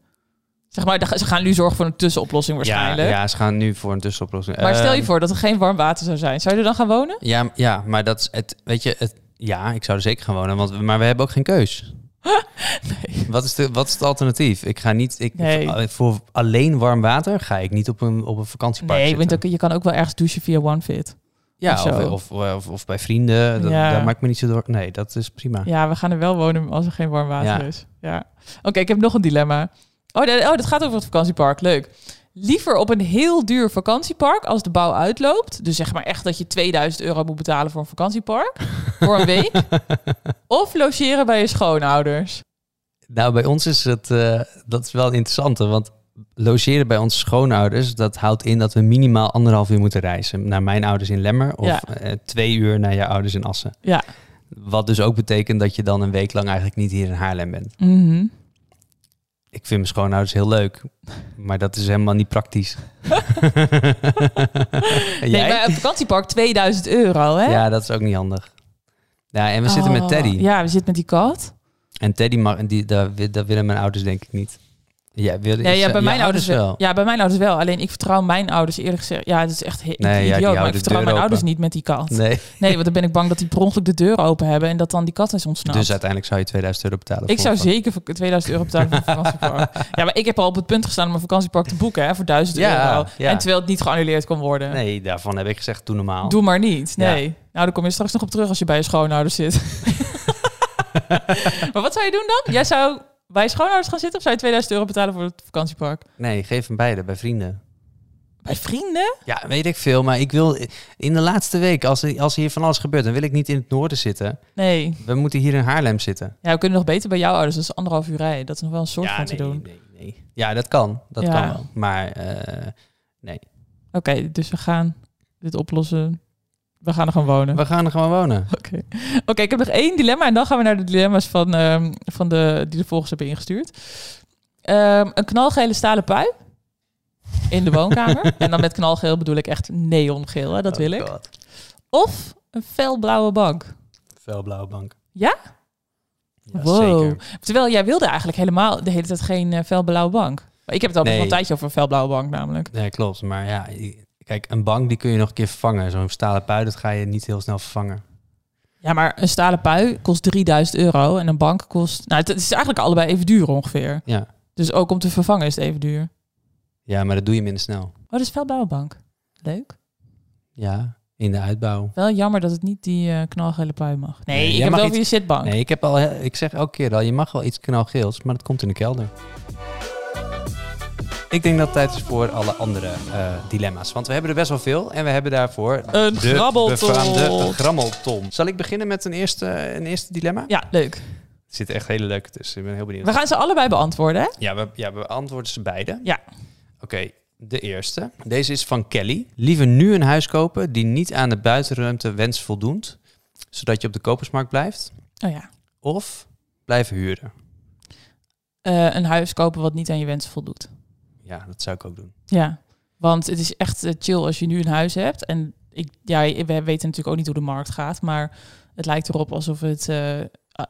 Zeg maar, de- ze gaan nu zorgen voor een tussenoplossing waarschijnlijk.
Ja, ja, ze gaan nu voor een tussenoplossing.
Maar stel je
Ehm,
voor dat er geen warm water zou zijn. Zou je er dan gaan wonen?
Ja, ja, maar dat is het. Weet je, het, ja, ik zou er zeker gaan wonen, want, maar we hebben ook geen keus. Wat, is de, wat is het alternatief? Ik ga niet. Ik,
Nee.
Voor alleen warm water ga ik niet op een, op een vakantiepark.
Nee, want
zitten.
ook, je kan ook wel ergens douchen via OneFit. of
ja,
zo.
of, of, of, of bij vrienden. Dat,
Ja.
Daar maakt me niet zo door. Nee, dat is prima.
Ja, we gaan er wel wonen als er geen warm
Ja.
water is. Ja. Oké, ik heb nog een dilemma. Oh, dat, oh, dat gaat over het vakantiepark. Leuk. liever op een heel duur vakantiepark als de bouw uitloopt. Dus zeg maar echt dat je 2000 euro moet betalen voor een vakantiepark. voor een week. Of logeren bij je schoonouders.
Nou, bij ons is het eh, dat is wel interessant, want logeren bij onze schoonouders, dat houdt in dat we minimaal anderhalf uur moeten reizen naar mijn ouders in Lemmer of
Ja.
eh, twee uur naar je ouders in Assen.
Ja.
Wat dus ook betekent dat je dan een week lang eigenlijk niet hier in Haarlem bent.
Mhm.
Ik vind mijn schoonouders heel leuk, maar dat is helemaal niet praktisch. En
Nee,
jij?
maar een vakantiepark 2000 euro, hè?
Ja, dat is ook niet handig. Ja, en we zitten met
Oh,
Teddy.
Ja, we zitten met die kat.
En Teddy, mag, die, daar, wi- daar willen mijn ouders denk ik niet. Ja, willen,
Nee, ja, bij
Dus eh, je
mijn ouders wel. Ja, bij mijn ouders wel. Alleen ik vertrouw mijn ouders eerlijk gezegd. Ja, het is echt heel
Nee, ja, die
idioot. maar
houden
ik
de
vertrouw
deur
mijn
open.
ouders niet met die kat. Nee.
Nee,
want dan ben ik bang dat die per ongeluk de deur open hebben en Nou, dat dan die kat is ontsnapt.
dus uiteindelijk zou je 2000 euro betalen.
ik
voor
zou
een vak-
zeker voor 2000 euro betalen voor een vakantiepark. ja, maar ik heb al op het punt gestaan om een vakantiepark te boeken hè, voor 1000
Ja,
euro.
ja.
En terwijl het niet geannuleerd kon worden.
Nee, daarvan heb ik gezegd, doe normaal.
Doe maar niet. Nee. Nou, daar kom je straks nog op terug als je bij je schoonouders zit. maar wat zou je doen dan? Jij zou bij je schoonouders gaan zitten of zou je 2000 euro betalen voor het vakantiepark?
Nee, geef hem beide, bij vrienden.
Bij vrienden?
Ja, weet ik veel, maar ik wil... In de laatste week, als, er- als hier van alles gebeurt, dan wil ik niet in het noorden zitten.
Nee.
We moeten hier in Haarlem zitten.
Ja, we kunnen nog beter bij jouw ouders. Dat is anderhalf uur rijden. Dat is nog wel een soort
ja,
van
nee,
te doen.
nee, nee. Ja, dat kan. Dat
Ja.
kan wel. Maar eh,
Oké, dus we gaan dit oplossen. We gaan er gewoon wonen.
we gaan er gewoon wonen.
Oké, Oké, ik heb nog één dilemma en dan gaan we naar de dilemma's van, ehm, van de, die de volgers hebben ingestuurd. Ehm, een knalgele stalen pui in de woonkamer. en dan met knalgeel bedoel ik echt neongeel, hè,
Oh
dat wil ik. Of een felblauwe bank.
Velblauwe bank.
Ja?
Ja,
Wow.
zeker.
Terwijl jij wilde eigenlijk helemaal de hele tijd geen eh, felblauwe bank. Maar ik heb het al
Nee.
een tijdje over een felblauwe bank namelijk.
Nee, klopt. Maar ja, i- kijk, een bank die kun je nog een keer vervangen. Zo'n stalen pui, dat ga je niet heel snel vervangen.
Ja, maar een stalen pui kost 3000 euro en een bank kost... Nou, het het is eigenlijk allebei even duur ongeveer.
Ja.
Dus ook om te vervangen is het even duur.
Ja, maar dat doe je minder snel.
Oh, dat is felblauwe bank. Leuk.
Ja, in de uitbouw.
Wel jammer dat het niet die eh, knalgele pui mag. Nee,
Nee,
ik
jij
heb
mag
het over
iets-
je zitbank.
Nee, ik, heb al, he- ik zeg elke keer al, je mag wel iets knalgeels, maar dat komt in de kelder. Ik denk dat het tijd is voor alle andere eh, dilemma's. Want we hebben er best wel veel en we hebben daarvoor
Een
de
grabbelton.
befaamde grammelton. Zal ik beginnen met een eerste, een eerste dilemma?
Ja, leuk.
Er zitten echt hele leuke tussen. Ik ben heel benieuwd.
We gaan ze allebei beantwoorden, hè?
Ja, we, ja, we beantwoorden ze beide.
Ja.
Oké, de eerste. Deze is van Kelly. Liever nu een huis kopen die niet aan de buitenruimte wens voldoet, zodat je op de kopersmarkt blijft,
Oh ja.
of blijven huren.
Eh, een huis kopen wat niet aan je wensen voldoet.
Ja, dat zou ik ook doen.
Ja. Want het is echt eh, chill als je nu een huis hebt. En ik, ja, we weten natuurlijk ook niet hoe de markt gaat. Maar het lijkt erop alsof het... eh,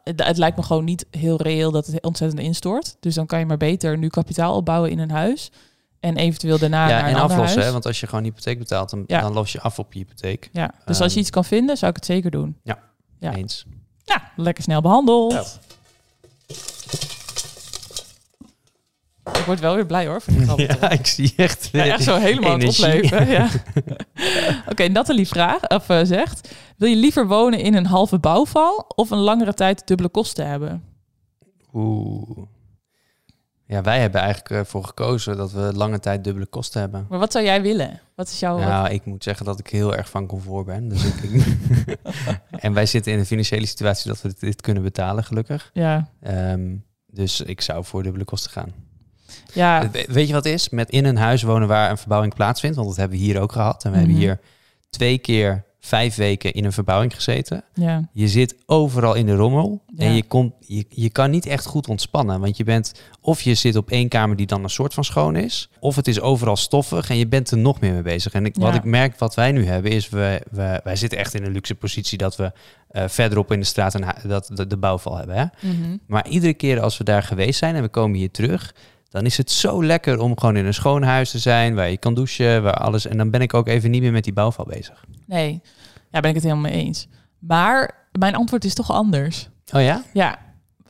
het, het lijkt me gewoon niet heel reëel dat het ontzettend instort. Dus dan kan je maar beter nu kapitaal opbouwen in een huis. En eventueel daarna
ja,
naar een
en
ander
aflossen,
huis.
hè, want als je gewoon een hypotheek betaalt, dan,
Ja.
dan los je af op je hypotheek.
Ja, dus als je
Ehm,
iets kan vinden, zou ik het zeker doen. Ja.
Eens.
Nou, lekker snel behandeld. Ik word wel weer blij hoor. Van die grabbel.
Ja, ik zie echt,
Ja, echt zo helemaal aan het
energie.
opleven. Ja. Oké, Nathalie vraagt, of, eh, zegt... Wil je liever wonen in een halve bouwval... of een langere tijd dubbele kosten hebben?
Oeh. Ja, wij hebben eigenlijk ervoor gekozen dat we lange tijd dubbele kosten hebben.
Maar wat zou jij willen? Oh, Wat is jouw...
Nou, ik moet zeggen dat ik heel erg van comfort ben. Dus ik, ik- en wij zitten in een financiële situatie dat we dit, dit kunnen betalen, gelukkig.
Ja,
Ehm, dus ik zou voor dubbele kosten gaan.
ja,
We- weet je wat het is? Met in een huis wonen waar een verbouwing plaatsvindt, want dat hebben we hier ook gehad. En we hebben
Mhm.
hier twee keer vijf weken in een verbouwing gezeten.
ja.
Je zit overal in de rommel
Ja.
en je, komt, je, je kan niet echt goed ontspannen. Want je bent of je zit op één kamer die dan een soort van schoon is, of het is overal stoffig en je bent er nog meer mee bezig. En ik, wat
Ja.
ik merk wat wij nu hebben is, we, we, wij zitten echt in een luxe positie dat we eh, verderop in de straat een, hu- dat, de, de bouwval hebben. Hè?
Mhm.
Maar iedere keer als we daar geweest zijn en we komen hier terug, dan is het zo lekker om gewoon in een schoon huis te zijn, waar je kan douchen, waar alles. En dan ben ik ook even niet meer met die bouwval bezig.
Nee, ja, ben ik het helemaal mee eens. Maar mijn antwoord is toch anders.
Oh ja?
Ja,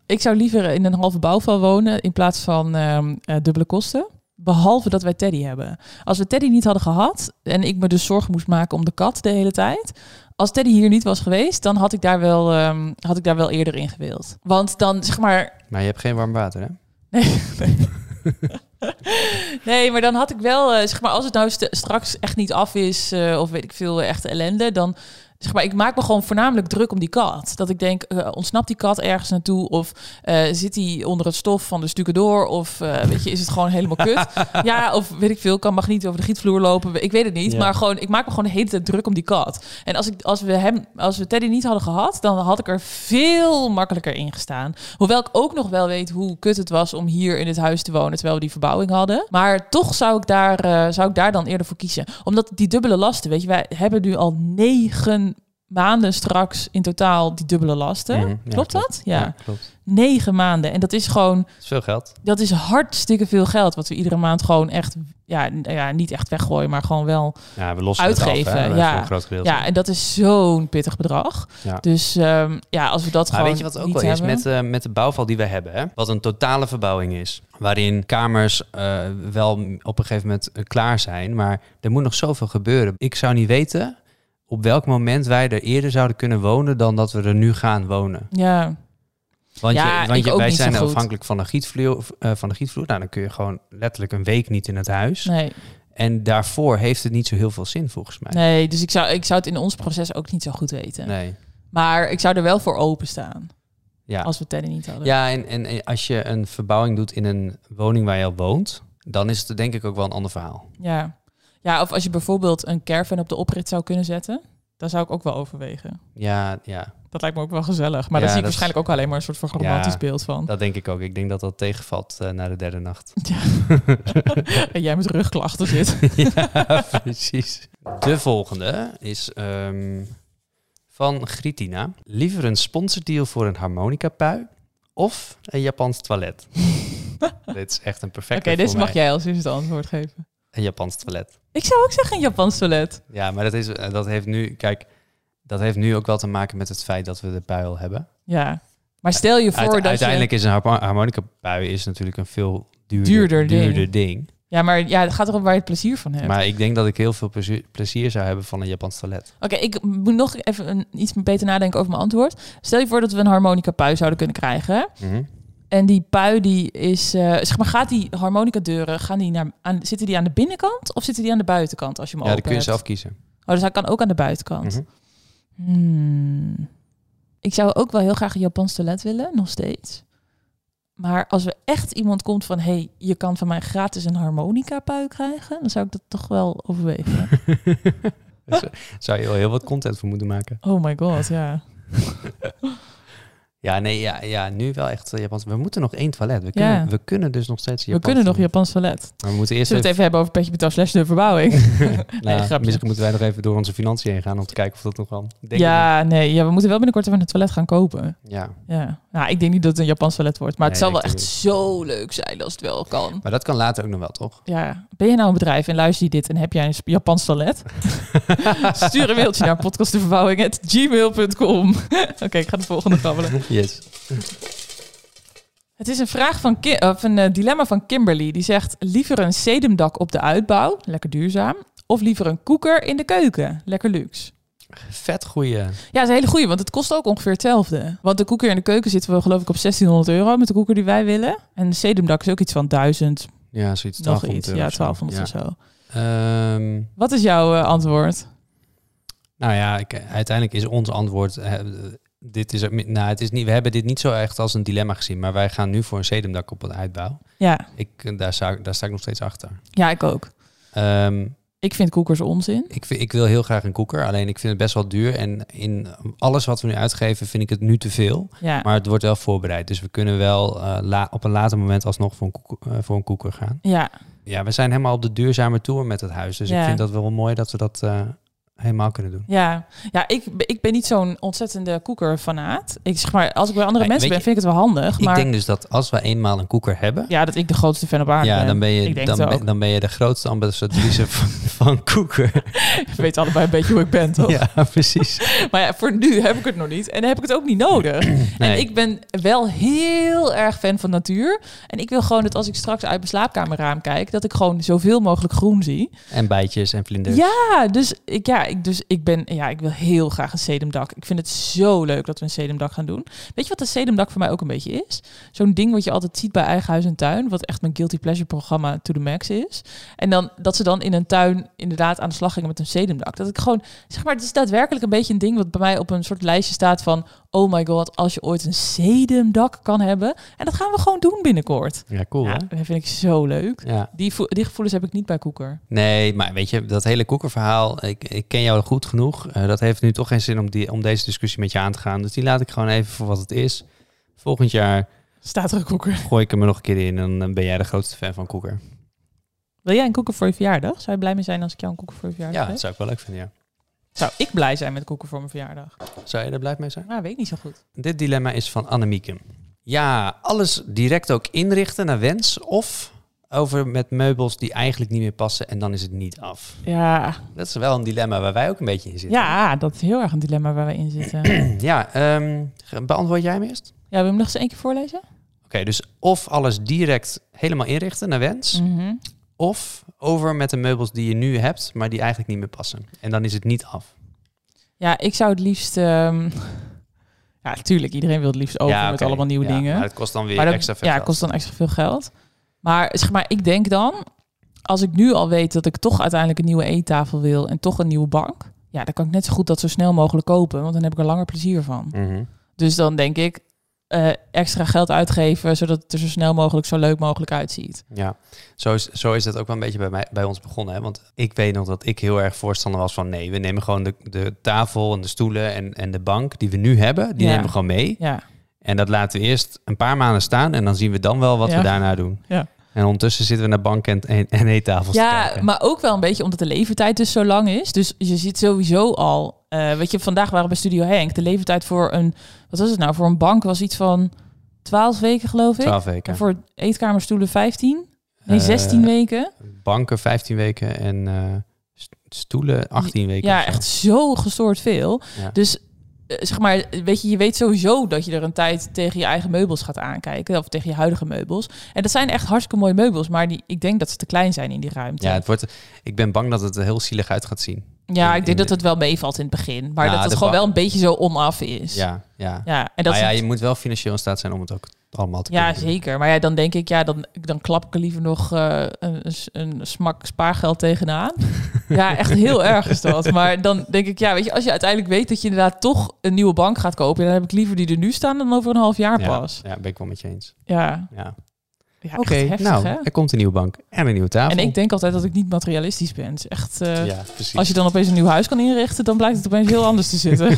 ik zou liever in een halve bouwval wonen in plaats van ehm, eh, dubbele kosten. Behalve dat wij Teddy hebben. Als we Teddy niet hadden gehad en ik me dus zorgen moest maken om de kat de hele tijd. Als Teddy hier niet was geweest, dan had ik daar wel, ehm, had ik daar wel eerder in gewild. Want dan zeg maar.
Maar je hebt geen warm water, hè?
Nee, nee. Nee, maar dan had ik wel, eh, zeg maar, als het nou st- straks echt niet af is, eh, of weet ik veel, eh, echte ellende, dan zeg maar, ik maak me gewoon voornamelijk druk om die kat. Dat ik denk, eh, ontsnapt die kat ergens naartoe, of eh, zit die onder het stof van de stukken door, of eh, weet je, is het gewoon helemaal kut? ja, of weet ik veel, kan mag niet over de gietvloer lopen, ik weet het niet,
Ja.
maar gewoon, ik maak me gewoon de hele tijd druk om die kat. En als, ik, als, we hem, als we Teddy niet hadden gehad, dan had ik er veel makkelijker in gestaan. Hoewel ik ook nog wel weet hoe kut het was om hier in dit huis te wonen terwijl we die verbouwing hadden. Maar toch zou ik daar, eh, zou ik daar dan eerder voor kiezen. Omdat die dubbele lasten, weet je, wij hebben nu al negen maanden straks in totaal die dubbele lasten.
Mhm, ja,
klopt dat? Ja.
klopt.
negen maanden. En dat is gewoon,
Dat is veel geld.
dat is hartstikke veel geld wat we iedere maand gewoon echt, ja, n- ja niet echt weggooien, maar gewoon wel
Ja, we lossen het
Uitgeven,
af, hè,
ja.
voor een groot gedeelte.
ja, en dat is zo'n pittig bedrag.
Ja.
Dus ehm, ja, als we dat
Maar
gewoon
weet je wat ook
niet
wel is
hebben-
met, eh, met de bouwval die we hebben? Hè? Wat een totale verbouwing is. Waarin kamers eh, wel m- op een gegeven moment eh, klaar zijn. Maar er moet nog zoveel gebeuren. Ik zou niet weten op welk moment wij er eerder zouden kunnen wonen dan dat we er nu gaan wonen.
Ja,
Want,
Ja,
je, want
ik
je-
ook
wij
niet zo
zijn
goed.
afhankelijk van de, gietvloer, eh, van de gietvloer. Nou, dan kun je gewoon letterlijk een week niet in het huis.
nee,
En daarvoor heeft het niet zo heel veel zin volgens mij.
nee. Dus ik zou, ik zou het in ons proces ook niet zo goed weten.
Nee.
Maar ik zou er wel voor openstaan
Ja.
als we Teddy niet hadden.
Ja, en, en, en als je een verbouwing doet in een woning waar je al woont, dan is het denk ik ook wel een ander verhaal.
ja. Ja, of als je bijvoorbeeld een caravan op de oprit zou kunnen zetten, dan zou ik ook wel overwegen.
Ja, ja
Dat lijkt me ook wel gezellig. Maar daar
Ja,
zie ik
dat is-
waarschijnlijk ook alleen maar een soort van
Ja.
romantisch beeld van.
dat denk ik ook. Ik denk dat dat tegenvalt eh, na de derde nacht.
En jij met rugklachten zit.
ja, precies. De volgende is ehm, van Gritina. Liever een sponsordeal voor een harmonicapui of een Japans toilet? dit is echt een
Oké,
perfecte
dit
voor
mag
mij.
jij als eerste antwoord geven.
Een Japans toilet.
Ik zou ook zeggen een Japans toilet.
Ja, maar dat, is, eh, dat heeft nu... Kijk, dat heeft nu ook wel te maken met het feit dat we de puil hebben.
Ja. Maar stel je voor
Uite-
dat je-
uiteindelijk is een harpo- harmonica bui is natuurlijk een veel duurder,
Duurder
duurder,
ding.
ding.
Ja, maar ja, het gaat erom waar je het plezier van hebt.
Maar ik denk dat ik heel veel plezier, plezier zou hebben van een Japans toilet.
Oké, ik moet nog even een, iets beter nadenken over mijn antwoord. Stel je voor dat we een harmonica pui zouden kunnen krijgen.
Mhm.
En die pui die is, eh, zeg maar, gaat die harmonica deuren, gaan die naar, aan, zitten die aan de binnenkant of zitten die aan de buitenkant als je hem
Ja, dat
open
kun je
hebt?
zelf kiezen.
Oh, dus hij kan ook aan de buitenkant.
Mhm.
Hmm. Ik zou ook wel heel graag een Japans toilet willen, nog steeds. Maar als er echt iemand komt van... hey, je kan van mij gratis een harmonica-pui krijgen... dan zou ik dat toch wel overwegen.
Zou je wel heel wat content voor moeten maken.
oh my god, ja.
Ja, nee, ja, ja nu wel echt eh, Japans. We moeten nog één toilet. We kunnen, we kunnen dus nog steeds
We
Japans
kunnen nog
toilet.
Japans toilet.
Maar we moeten eerst
Zullen we
even...
het even hebben over Petje Patas slash de verbouwing? Nee,
nou,
grapje.
misschien moeten wij nog even door onze financiën heen gaan om te kijken of dat nog wel... Denk ik
ja, nee, ja, we moeten wel binnenkort even een toilet gaan kopen.
niet. ja.
Ja. Nou, ik denk niet dat het een Japans toilet wordt. Maar het
Nee,
zou wel
ik
echt zo leuk zijn als het wel kan.
Maar dat kan later ook nog wel, toch?
Ja, ben je nou een bedrijf en luister je dit en heb jij een Japans toilet? Stuur een mailtje naar podcastdeverbouwing.gmail.com. Oké, ik ga de volgende grabbelen.
Yes.
Het is een vraag van Ki- of een eh, dilemma van Kimberly. Die zegt: liever een sedumdak op de uitbouw, lekker duurzaam. Of liever een koeker in de keuken, lekker luxe.
Vet goeie.
Ja, dat is een hele goeie, want het kost ook ongeveer hetzelfde. Want de koeker in de keuken zitten we geloof ik op 1600 euro met de koeker die wij willen. En de sedumdak is ook iets van 1000,
Ja, zoiets.
nog
1200
iets. Ja,
euro of zo.
1200
Ja.
of zo.
Ehm,
Wat is jouw eh, antwoord?
Nou ja, ik, uiteindelijk is ons antwoord. eh, dit is, er mi- nou, het is niet, we hebben dit niet zo echt als een dilemma gezien, maar wij gaan nu voor een sedumdak op een uitbouw.
Ja,
Ik, eh, daar, sta, daar sta ik nog steeds achter.
ja, ik ook.
Ehm,
Ik vind koekers onzin.
ik, vind- ik wil heel graag een koeker, alleen ik vind het best wel duur. En in alles wat we nu uitgeven, vind ik het nu te veel.
Ja.
Maar het wordt wel voorbereid. Dus we kunnen wel eh, la- op een later moment alsnog voor een, koek- eh, voor een koeker gaan.
ja,
Ja, we zijn helemaal op de duurzame tour met het huis. Dus
Ja.
ik vind dat wel mooi dat we dat eh, helemaal kunnen doen.
ja. ja ik, be- ik ben niet zo'n ontzettende koekerfanaat. Ik zeg maar, als ik bij andere
Nee,
mensen
weet
ben, vind ik het wel handig. Maar
Ik denk dus dat als we eenmaal een koeker hebben,
ja, dat ik de grootste fan op aarde
Ja,
ben.
dan ben, je,
eh, Ik denk
dan,
het
ben,
ook.
dan ben je de grootste ambassadrice van, van koeken.
We weten allebei een beetje hoe ik ben, toch?
Ja, precies.
Maar ja, voor nu heb ik het nog niet. En dan heb ik het ook niet nodig. En
Nee.
ik ben wel heel erg fan van natuur. En ik wil gewoon dat als ik straks uit mijn slaapkamerraam kijk... dat ik gewoon zoveel mogelijk groen zie.
En bijtjes en vlinders.
Ja, dus ik, ja, ik, dus ik, ben, ja, ik wil heel graag een sedumdak. Ik vind het zo leuk dat we een sedumdak gaan doen. Weet je wat een sedumdak voor mij ook een beetje is? Zo'n ding wat je altijd ziet bij eigen huis en tuin. Wat echt mijn guilty pleasure programma to the max is. En dan dat ze dan in een tuin inderdaad aan de slag gingen met een sedumdak. Dat ik gewoon, zeg maar, het is daadwerkelijk een beetje een ding wat bij mij op een soort lijstje staat van... Oh my god, als je ooit een sedumdak kan hebben. En dat gaan we gewoon doen binnenkort.
Ja, cool
Ja,
hè?
dat vind ik zo leuk.
Ja.
Die, vo- die gevoelens heb ik niet bij Koeker.
Nee, maar weet je, dat hele koekerverhaal, ik, ik ken jou goed genoeg. Eh, dat heeft nu toch geen zin om, die, om deze discussie met je aan te gaan. Dus die laat ik gewoon even voor wat het is. Volgend jaar
Staat er een koeker.
gooi ik hem er nog een keer in en dan ben jij de grootste fan van koeker.
Wil jij een koeker voor je verjaardag? Zou je blij mee zijn als ik jou een koeker voor je verjaardag
Ja,
geef?
dat zou ik wel leuk vinden,
Zou ik blij zijn met koeken voor mijn verjaardag?
ja. Zou je er blij mee zijn?
Nou, weet ik niet zo goed.
Dit dilemma is van Annemieke. Ja, alles direct ook inrichten naar wens of over met meubels die eigenlijk niet meer passen en dan is het niet af.
Ja,
Dat is wel een dilemma waar wij ook een beetje in zitten.
ja dat is heel erg een dilemma waar we in zitten.
Ja, ehm, ge- beantwoord jij hem eerst?
ja, wil je hem nog eens één keer voorlezen?
Oké, dus of alles direct helemaal inrichten naar wens,
Mm.
of over met de meubels die je nu hebt, maar die eigenlijk niet meer passen. En dan is het niet af.
Ja, ik zou het liefst... ehm, ja, tuurlijk, iedereen wil het liefst over met
oké.
allemaal nieuwe
Ja,
dingen.
Maar het kost dan weer
Maar dat,
extra veel
ja,
geld.
kost dan extra veel geld. Maar zeg maar, ik denk dan, als ik nu al weet dat ik toch uiteindelijk een nieuwe eettafel wil en toch een nieuwe bank, ja, dan kan ik net zo goed dat zo snel mogelijk kopen, want dan heb ik er langer plezier van.
Mhm.
Dus dan denk ik eh, extra geld uitgeven, zodat het er zo snel mogelijk, zo leuk mogelijk uitziet.
Ja, zo is, zo is dat ook wel een beetje bij, mij, bij ons begonnen. Hè? Want ik weet nog dat ik heel erg voorstander was van... nee, we nemen gewoon de, de tafel en de stoelen en, en de bank die we nu hebben... die
Ja.
nemen we gewoon mee.
Ja,
En dat laten we eerst een paar maanden staan... en dan zien we dan wel wat
Ja.
we daarna doen.
Ja.
En ondertussen zitten we naar bank en, en, en eettafels te
ja
kijken.
maar ook wel een beetje omdat de levertijd dus zo lang is. Dus je ziet sowieso al, eh weet je, vandaag waren we bij Studio Henk, de levertijd voor een, wat was het nou, voor een bank was iets van 12 weken geloof ik.
Twaalf
En
weken.
voor eetkamerstoelen 15? Nee, 16
Eh,
weken.
Banken 15 weken en eh, st- stoelen 18 weken. of
Ja,
zo.
echt zo gestoord veel.
Ja.
Dus eh, zeg maar, weet je, je weet sowieso dat je er een tijd tegen je eigen meubels gaat aankijken. Of tegen je huidige meubels. En dat zijn echt hartstikke mooie meubels, maar die, ik denk dat ze te klein zijn in die ruimte.
Ja, het wordt, ik ben bang dat het er heel zielig uit gaat zien.
Ja,
in-
ik denk
in-
dat het wel meevalt in het begin. Maar
Nou,
dat het
de
gewoon
ba-
wel een beetje zo onaf is.
Ja, ja.
Ja, en dat
maar
is
ja,
het-
je moet wel financieel in staat zijn om het ook allemaal te
Ja,
kunnen doen.
zeker. Maar ja, dan denk ik, ja, dan, dan klap ik er liever nog eh, een, een smak spaargeld tegenaan. ja, echt heel erg is dat. Maar dan denk ik, ja, weet je, als je uiteindelijk weet dat je inderdaad toch een nieuwe bank gaat kopen, dan heb ik liever die er nu staan dan over een half jaar pas.
Ja, ja, ben ik wel met je eens.
Ja,
Ja.
ja
Oké,
echt heftig,
nou,
hè?
er komt een nieuwe bank en een nieuwe tafel.
En ik denk altijd dat ik niet materialistisch ben. Het is echt, eh,
ja, precies.
als je dan opeens een nieuw huis kan inrichten, dan blijkt het opeens heel anders te zitten.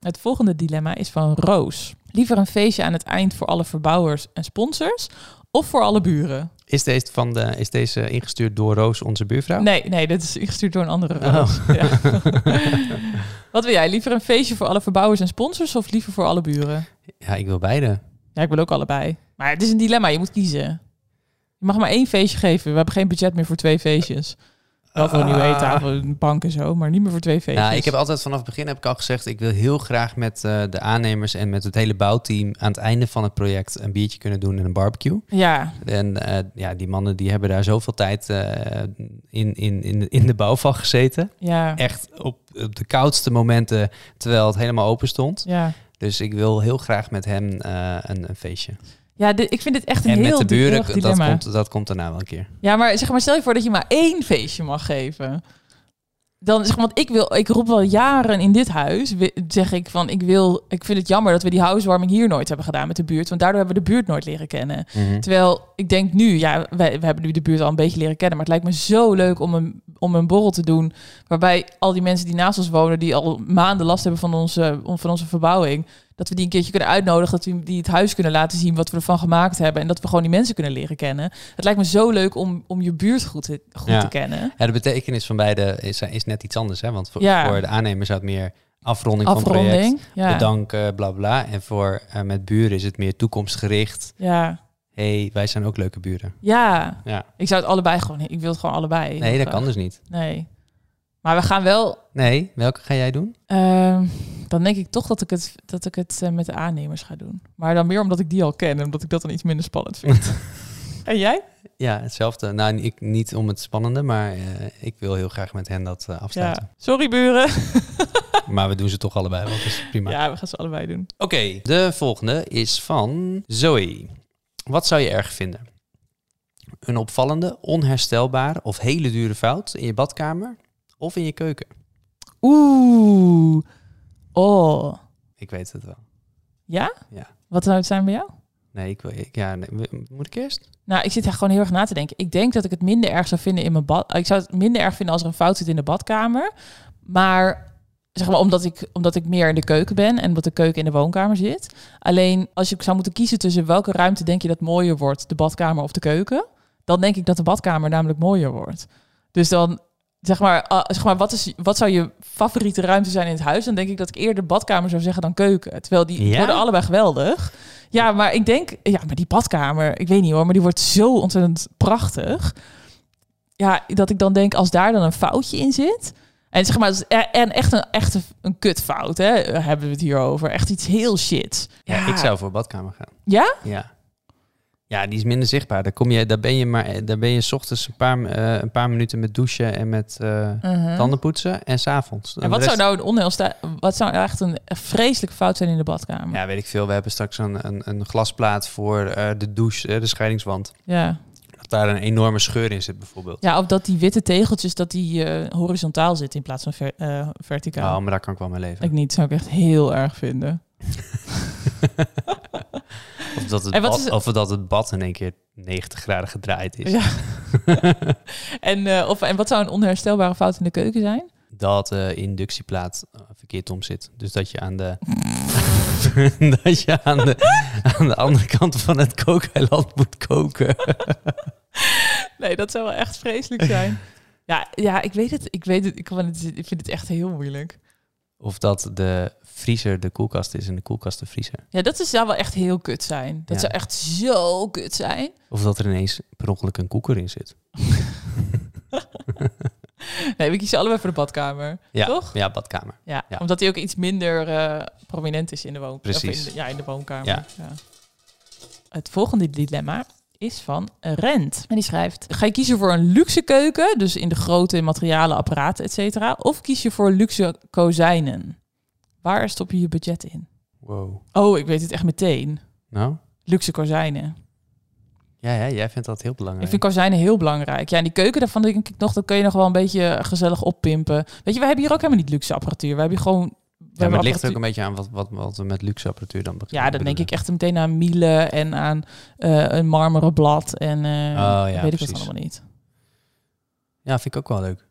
het volgende dilemma is van Roos. Liever een feestje aan het eind voor alle verbouwers en sponsors of voor alle buren?
Is, deze van de, is deze ingestuurd door Roos, onze buurvrouw?
Nee, nee, dit is ingestuurd door een andere
Oh.
Roos. Ja. Wat wil jij? Liever een feestje voor alle verbouwers en sponsors of liever voor alle buren?
Ja, ik wil beide.
Ja, ik wil ook allebei. Maar het is een dilemma, je moet kiezen. Je mag maar één feestje geven. We hebben geen budget meer voor twee feestjes. Wel voor een nieuwe
Ah.
eettafel, een bank en zo, maar niet meer voor twee feestjes.
Nou, ik heb altijd vanaf het begin heb ik al gezegd, ik wil heel graag met eh, de aannemers en met het hele bouwteam aan het einde van het project een biertje kunnen doen en een barbecue.
Ja,
En eh, ja, die mannen die hebben daar zoveel tijd eh, in, in, in, in de bouw van gezeten.
ja,
Echt op, op de koudste momenten, terwijl het helemaal open stond.
ja.
Dus ik wil heel graag met hem eh, een, een feestje.
Ja, dit- ik vind dit echt een
en
heel
met de
di- heel
buren,
erg
dat
dilemma.
komt, dat komt daarna wel een keer.
Ja, maar zeg maar, stel je voor dat je maar één feestje mag geven. Dan zeg maar, want ik wil, ik roep wel jaren in dit huis, wi- zeg ik van, ik wil, ik vind het jammer dat we die housewarming hier nooit hebben gedaan met de buurt, want daardoor hebben we de buurt nooit leren kennen. Terwijl ik denk nu, ja, wij, we hebben nu de buurt al een beetje leren kennen, maar het lijkt me zo leuk om een, om een borrel te doen, waarbij al die mensen die naast ons wonen, die al maanden last hebben van onze, van onze verbouwing, dat we die een keertje kunnen uitnodigen, dat we die het huis kunnen laten zien wat we ervan gemaakt hebben en dat we gewoon die mensen kunnen leren kennen. Het lijkt me zo leuk om, om je buurt goed te, goed
Ja.
te kennen.
Ja, de betekenis van beide is, is net iets anders. Hè? Want voor,
Ja.
voor de aannemer zou het meer afronding, van het project,
Afronding. Ja.
bedanken, bla bla. En voor eh, met buren is het meer toekomstgericht.
ja.
Hé, hey, wij zijn ook leuke buren.
Ja.
Ja.
Ik zou het allebei gewoon, ik wil het gewoon allebei.
Nee, dat kan dus niet.
Nee. Maar we gaan wel,
Nee, welke ga jij doen?
ehm, dan denk ik toch dat ik het, dat ik het eh, met de aannemers ga doen. Maar dan meer omdat ik die al ken en omdat ik dat dan iets minder spannend vind. En jij?
Ja, hetzelfde. Nou, ik, niet om het spannende, maar eh, ik wil heel graag met hen dat eh, afsluiten.
Ja. Sorry buren.
Maar we doen ze toch allebei, want dat is prima.
Ja, we gaan ze allebei doen.
Oké, de volgende is van Zoe. Wat zou je erg vinden? Een opvallende, onherstelbare of hele dure fout in je badkamer of in je keuken?
Oeh. Oh.
Ik weet het wel.
Ja?
Ja.
Wat zou het zijn bij jou?
Nee, ik wil. Ik, ja, nee, we- moet ik eerst?
Nou, ik zit daar gewoon heel erg na te denken. Ik denk dat ik het minder erg zou vinden in mijn bad. Ik zou het minder erg vinden als er een fout zit in de badkamer. Maar zeg maar omdat ik, omdat ik meer in de keuken ben en omdat de keuken in de woonkamer zit. Alleen als ik zou moeten kiezen tussen welke ruimte denk je dat mooier wordt, de badkamer of de keuken, dan denk ik dat de badkamer namelijk mooier wordt. Dus dan zeg maar, ah, zeg maar wat, is, wat zou je favoriete ruimte zijn in het huis? Dan denk ik dat ik eerder badkamer zou zeggen dan keuken. Terwijl die
Ja?
worden allebei geweldig. Ja, maar ik denk, ja, maar die badkamer, ik weet niet hoor, maar die wordt zo ontzettend prachtig. Ja, dat ik dan denk, als daar dan een foutje in zit. En zeg maar, e-, en echt een, echt een, een kutfout, hè, hebben we het hier over. Echt iets heel shit.
Ja, ik zou voor badkamer gaan.
Ja?
Ja. Ja, die is minder zichtbaar. Daar, kom je, daar ben je maar, daar ben je 's ochtends een paar, eh, een paar minuten met douchen en met eh
Mhm.
tanden poetsen en s'avonds.
En wat zou nou een onheilsta... Wat zou nou echt een vreselijke fout zijn in de badkamer? Ja.
Ja, weet ik veel. We hebben straks een, een, een glasplaat voor eh, de douche, eh, de scheidingswand.
Ja.
Dat daar een enorme scheur in zit bijvoorbeeld.
of dat die witte tegeltjes, dat die eh, horizontaal zitten in plaats van ver- eh, verticaal.
Oh, maar daar kan ik wel mee leven.
Ik niet, zou ik echt heel erg vinden.
Of dat het,
En wat
bad,
is-
of dat het bad in één keer 90 graden gedraaid is.
Ja. En, eh, of, en wat zou een onherstelbare fout in de keuken zijn?
Dat de inductieplaat eh, verkeerd om zit. Dus dat je aan de... dat je aan de, aan de andere kant van het kookeiland moet koken.
Nee, dat zou wel echt vreselijk zijn. Ja, ja ik weet het. Ik, weet het ik, kan het ik vind het echt heel moeilijk.
Of dat de vriezer de koelkast is en de koelkast de vriezer.
Ja, dat is, zou wel echt heel kut zijn. Dat
Ja.
zou echt zo kut zijn.
Of dat er ineens per ongeluk een koeker in zit.
Nee, we kiezen allebei voor de badkamer.
Ja,
Toch?
Ja, badkamer.
Ja,
Ja.
omdat hij ook iets minder eh, prominent is in de woonkamer.
Precies.
In de, ja, in de woonkamer.
Ja.
Ja. Het volgende dilemma is van Rent. En die schrijft... Ga je kiezen voor een luxe keuken, dus in de grote materialen, apparaten, et cetera... of kies je voor luxe kozijnen? Waar stop je je budget in?
Wow.
Oh, ik weet het echt meteen.
Nou?
Luxe kozijnen.
Ja, ja, jij vindt dat heel belangrijk.
Ik vind kozijnen heel belangrijk. Ja, en die keuken daarvan denk ik nog, dat kun je nog wel een beetje gezellig oppimpen. Weet je, wij hebben hier ook helemaal niet luxe apparatuur. We hebben hier gewoon... we
ja, maar het
hebben
ligt
apparatuur-
ook een beetje aan wat, wat, wat we met luxe apparatuur dan be-
Ja, dan denk
bedoelen.
ik echt meteen aan Miele en aan eh, een marmeren blad en eh,
Oh, ja,
weet ik
precies.
het allemaal niet.
Ja, vind ik ook wel leuk.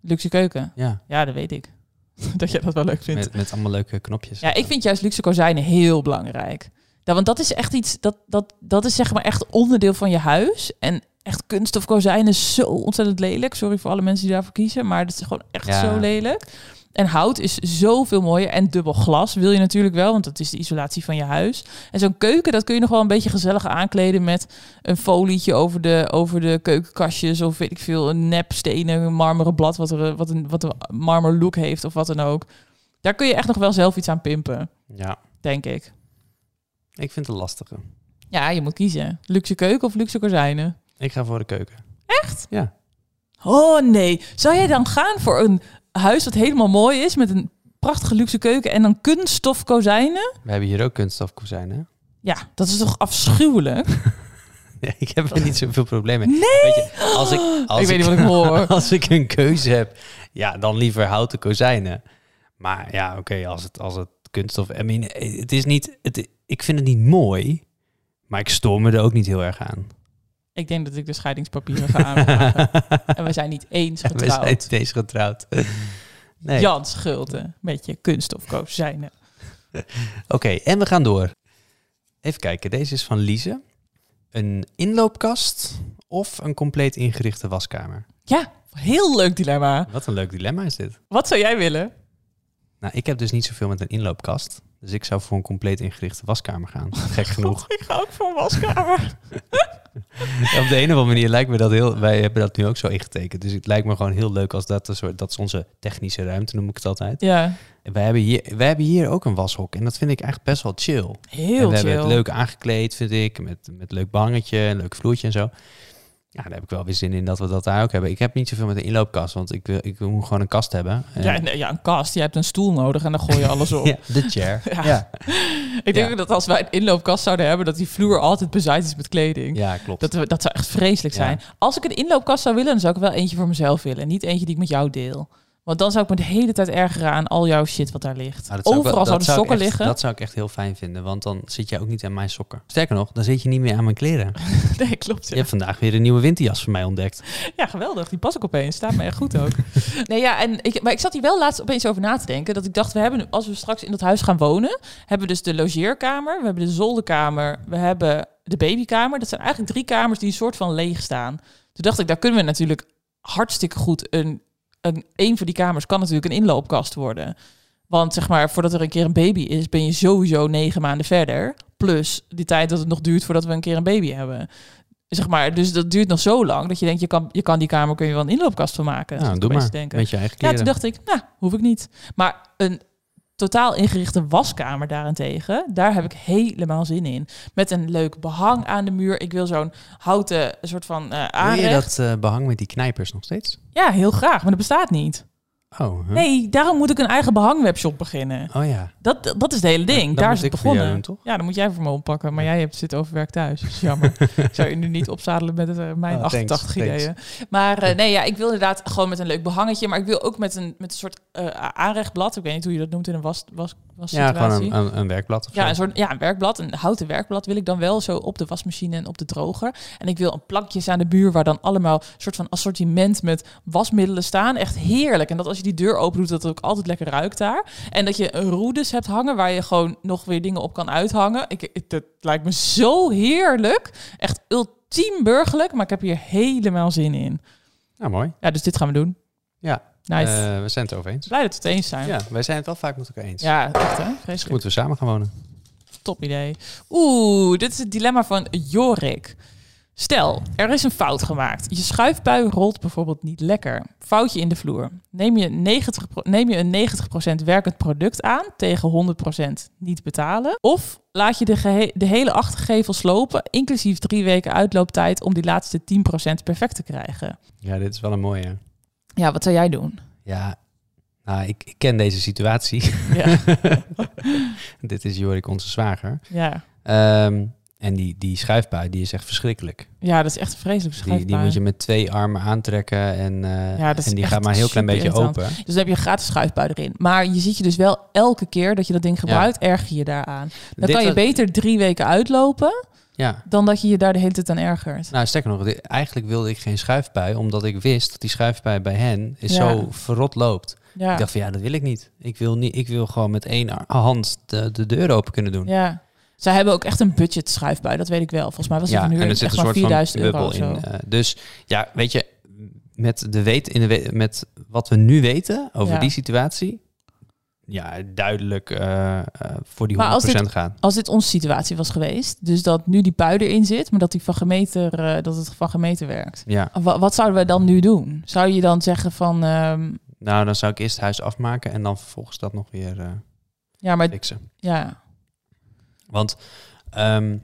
Luxe keuken,
Ja,
ja, dat weet ik. dat jij dat wel leuk vindt.
met, met allemaal leuke knopjes.
Ja, ik vind juist luxe kozijnen heel belangrijk. Ja, want dat is echt iets, dat, dat, dat is zeg maar echt onderdeel van je huis. En echt kunststof kozijnen is zo ontzettend lelijk. Sorry voor alle mensen die daarvoor kiezen, maar dat is gewoon echt
Ja.
zo lelijk. En hout is zoveel mooier. En dubbel glas wil je natuurlijk wel, want dat is de isolatie van je huis. En zo'n keuken, dat kun je nog wel een beetje gezellig aankleden met een folietje over de, over de keukenkastjes. Of weet ik veel, een nep stenen, een marmeren blad, wat, er, wat, een, wat een marmer look heeft of wat dan ook. Daar kun je echt nog wel zelf iets aan pimpen,
Ja,
denk ik.
ik vind het lastige.
Ja, je moet kiezen. Luxe keuken of luxe kozijnen?
Ik ga voor de keuken.
Oh nee, zou jij dan gaan voor een huis dat helemaal mooi is met een prachtige luxe keuken en dan kunststof kozijnen?
We hebben hier ook kunststof kozijnen. hè?
Ja, dat is toch afschuwelijk?
Nee, ik heb er niet zoveel problemen mee.
Nee!
Weet je, als ik, als
ik weet niet wat ik hoor.
Als ik een keuze heb, ja, dan liever houten kozijnen. Maar ja, oké, als, het, als het kunststof... I mean, het is niet... Het, ik vind het niet mooi, maar ik stoor me er ook niet heel erg aan.
Ik denk dat ik de scheidingspapieren ga aanvragen. en we zijn niet eens
En We zijn
Ah, getrouwd.
steeds getrouwd. Nee.
Jan Schulten met je kunststof kozijnen.
Oké, en we gaan door. Even kijken, deze is van Lize. Een inloopkast of een compleet ingerichte waskamer?
Ja, heel leuk dilemma.
Wat een leuk dilemma is dit.
Wat zou jij willen?
Nou, ik heb dus niet zoveel met een inloopkast. Dus ik zou voor een compleet ingerichte waskamer gaan. Gek genoeg.
Ik ga ook voor een waskamer.
Op de een of andere manier lijkt me dat heel... Wij hebben dat nu ook zo ingetekend. Dus het lijkt me gewoon heel leuk als dat... een soort- Dat is onze technische ruimte, noem ik het altijd.
Ja,
En Wij hebben, hier, wij hebben hier ook een washok. En dat vind ik eigenlijk best wel chill. en
heel
we
chill.
hebben het leuk aangekleed, vind ik. Met, met leuk behangetje, een leuk vloertje en zo. Ja, daar heb ik wel weer zin in dat we dat daar ook hebben. Ik heb niet zoveel met de inloopkast, want ik, wil, ik wil- moet gewoon een kast hebben. En-
Ja, nee, ja, een kast. Je hebt een stoel nodig en dan gooi je alles op.
Ja, de chair.
Ja.
Ja,
Ik denk
Ja.
ook dat als wij een inloopkast zouden hebben, dat die vloer altijd bezaaid is met kleding.
ja klopt.
Dat, we- dat zou echt vreselijk
Ja.
zijn. Als ik een inloopkast zou willen, dan zou ik wel eentje voor mezelf willen. En niet eentje die ik met jou deel. Want dan zou ik me de hele tijd ergeren aan al jouw shit wat daar ligt.
Maar dat zou ik wel-
Overal
dat
zouden
zou ik
sokken
echt-
liggen.
Dat zou ik echt heel fijn vinden, want dan zit jij ook niet aan mijn sokken. Sterker nog, dan zit je niet meer aan mijn kleren.
Nee, klopt.
Je
ja.
hebt vandaag weer een nieuwe winterjas voor mij ontdekt.
Ja, geweldig. Die pas ik opeens. Staat me echt goed ook. nee, ja, en ik, maar ik zat hier wel laatst opeens over na te denken. Dat ik dacht, we hebben, als we straks in dat huis gaan wonen, hebben we dus de logeerkamer, we hebben de zolderkamer, we hebben de babykamer. Dat zijn eigenlijk drie kamers die een soort van leeg staan. Toen dacht ik, daar kunnen we natuurlijk hartstikke goed een, een, een van die kamers kan natuurlijk een inloopkast worden. Want zeg maar, voordat er een keer een baby is, ben je sowieso negen maanden verder. Plus die tijd dat het nog duurt voordat we een keer een baby hebben. Zeg maar, dus dat duurt nog zo lang dat je denkt, je kan, je kan die kamer kun je wel een inloopkast van maken. Zat
nou,
ik
doe
opeens
maar.
te denken.
Met je eigen
Ja,
kleren.
toen dacht ik, nou, hoef ik niet. Maar een totaal ingerichte waskamer daarentegen, daar heb ik helemaal zin in. Met een leuk behang aan de muur. Ik wil zo'n houten soort van eh
Wil je
aanrecht.
dat eh, behang met die knijpers nog steeds?
Ja, heel graag, maar dat bestaat niet.
Oh, huh?
Nee, daarom moet ik een eigen behangwebshop beginnen.
oh ja.
Dat, dat is het hele ding.
Dan
daar
moet
is het
ik voor jou
begonnen.
doen, toch?
Ja, dan moet jij voor me oppakken. Maar jij hebt, zit overwerk thuis. Dus jammer. ik zou je nu niet opzadelen met het, eh, mijn
Oh, thanks,
88
thanks.
ideeën. Maar eh, nee, ja, ik wil inderdaad gewoon met een leuk behangetje. Maar ik wil ook met een, met een soort eh, aanrechtblad. Ik weet niet hoe je dat noemt in een was, was, was
Ja, gewoon
situatie.
een, een, een werkblad of
Ja,
zo.
een soort ja, een werkblad, een houten werkblad wil ik dan wel zo op de wasmachine en op de droger. En ik wil een plankjes aan de buur waar dan allemaal een soort van assortiment met wasmiddelen staan. Echt heerlijk. En dat als je die deur open doet, dat het ook altijd lekker ruikt daar. En dat je een roedes hebt hangen waar je gewoon nog weer dingen op kan uithangen. Ik, ik- dat lijkt me zo heerlijk. Echt ultiem burgerlijk, maar ik heb hier helemaal zin in.
Nou, mooi.
Ja, dus dit gaan we doen.
Ja.
Nice.
Eh, we zijn het over eens.
Blij dat we het eens zijn. Ja,
Ja, wij zijn het wel vaak met elkaar eens.
echt hè?
Dus
Vreselijk.
moeten we samen gaan wonen.
Top idee. Oeh, dit is het dilemma van Jorik. Stel, er is een fout gemaakt. Je schuifbui rolt bijvoorbeeld niet lekker. Foutje in de vloer. Neem je, 90, pro- neem je een 90% werkend product aan tegen 100% niet betalen? Of laat je de, gehe- de hele achtergevel slopen, inclusief drie weken uitlooptijd om die laatste 10% perfect te krijgen?
Ja, dit is wel een mooie.
Ja, wat zou jij doen?
Ja, nou, ik, ik ken deze situatie.
Ja,
dit is Jorik, onze zwager.
ja.
Ehm, en die, die schuifbui, die is echt verschrikkelijk.
ja dat is echt een vreselijk
Die,
schuifbui.
die moet je met twee armen aantrekken en, eh,
Ja, dat is
en die
echt
gaat maar een heel klein
super
beetje
irritant.
open.
Dus dan heb je een gratis schuifbui erin. Maar je ziet je dus wel elke keer dat je dat ding gebruikt, erger je daaraan. Dan
Dit
kan je
was-
beter drie weken uitlopen
Ja.
dan dat je je daar de hele tijd aan ergert.
Nou, sterker nog, di- eigenlijk wilde ik geen schuifbui, omdat ik wist dat die schuifbui bij hen is
Ja.
zo verrot loopt.
Ja,
Ik dacht van ja, dat wil ik niet. Ik wil, niet, ik wil gewoon met één ar- hand de, de deur open kunnen doen.
ja. Zij hebben ook echt een budget schuifbui, dat weet ik wel. Volgens mij was het
Ja,
een nu
en er
echt
zit een
maar
soort van
4000 euro
bubbel
of
in.
zo.
eh, dus ja, weet je, met, de weet, in de we- met wat we nu weten over
Ja.
die situatie, ja, duidelijk eh, eh, voor die
Maar als
100%
dit-
gaan.
Als dit onze situatie was geweest, dus dat nu die pui erin zit, maar dat, die van gemeter, eh, dat het van gemeente werkt.
Ja,
Wa- wat zouden we dan nu doen? Zou je dan zeggen van, ehm,
nou dan zou ik eerst het huis afmaken en dan vervolgens dat nog weer eh,
ja, maar
fixen.
ja,
Want ehm,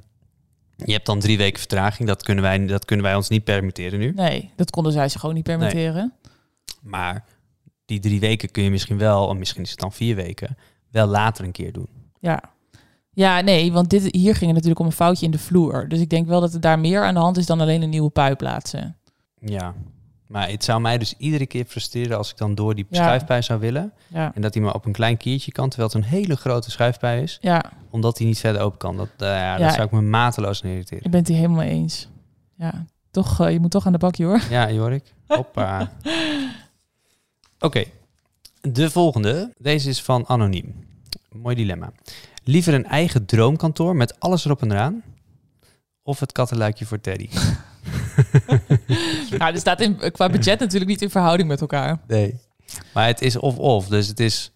je hebt dan drie weken vertraging. Dat kunnen, wij, dat kunnen wij ons niet permitteren nu.
nee, dat konden zij zich gewoon niet permitteren.
Maar die drie weken kun je misschien wel, en misschien is het dan vier weken, wel later een keer doen.
Ja. Ja, nee, want dit, hier ging het natuurlijk om een foutje in de vloer. Dus ik denk wel dat er daar meer aan de hand is dan alleen een nieuwe pui plaatsen.
Ja. Maar het zou mij dus iedere keer frustreren als ik dan door die
Ja.
schuifpij zou willen.
Ja.
En dat hij maar op een klein kiertje kan, terwijl het een hele grote schuifpij is.
Ja,
Omdat hij niet verder open kan. Dat, eh, ja, dat
Ja.
zou ik me mateloos aan irriteren.
ik ben het hier helemaal mee eens. Ja, toch, eh, je moet toch aan de bakje hoor.
Ja, Jorik. Hoppa. Oké. De volgende. Deze is van Anoniem. Mooi dilemma. Liever een eigen droomkantoor met alles erop en eraan. Of het kattenluikje voor Teddy.
Nou, dit staat in, qua budget natuurlijk niet in verhouding met elkaar.
Nee. Maar het is of-of. Dus het is...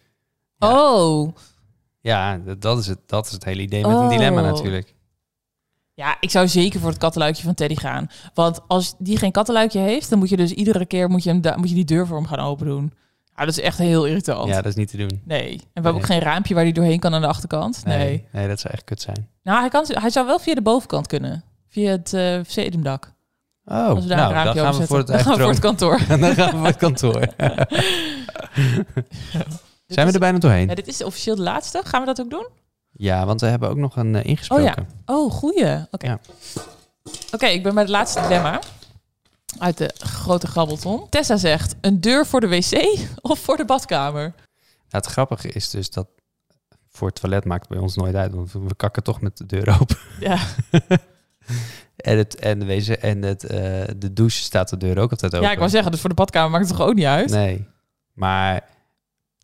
Ja.
Oh,
Ja, d- dat is het, dat is het hele idee met een
Oh.
dilemma natuurlijk.
Ja, ik zou zeker voor het kattenluikje van Teddy gaan. Want als die geen kattenluikje heeft, dan moet je dus iedere keer moet je hem da- moet je die deur voor hem gaan open doen. Ah, dat is echt heel irritant.
Ja, dat is niet te doen.
Nee. En we hebben ook
Nee.
geen raampje waar hij doorheen kan aan de achterkant. Nee.
nee. Nee, dat zou echt kut zijn.
Nou, hij, kan, hij zou wel via de bovenkant kunnen. Via het eh sedumdak.
Oh,
Als we daar
nou,
een
dan
raampje
gaan we
over zetten.
voor het
dan gaan we voor
eigen
het kantoor.
dan gaan we voor het kantoor. Zijn we er bijna doorheen?
Ja, dit is officieel de laatste. Gaan we dat ook doen?
Ja, want we hebben ook nog een eh, ingesproken.
Oh Oh, goeie. Oké.
Ja.
Oké, ik ben bij het laatste dilemma. Uit de grote grabbelton. Tessa zegt, een deur voor de wc of voor de badkamer?
Nou, het grappige is dus dat voor het toilet maakt het bij ons nooit uit, want we kakken toch met de deur open.
Ja,
En, het, en, de, wc en het, eh, de douche staat de deur ook altijd open.
ja ik wou zeggen, dus voor de badkamer maakt het toch ook niet uit?
Nee, maar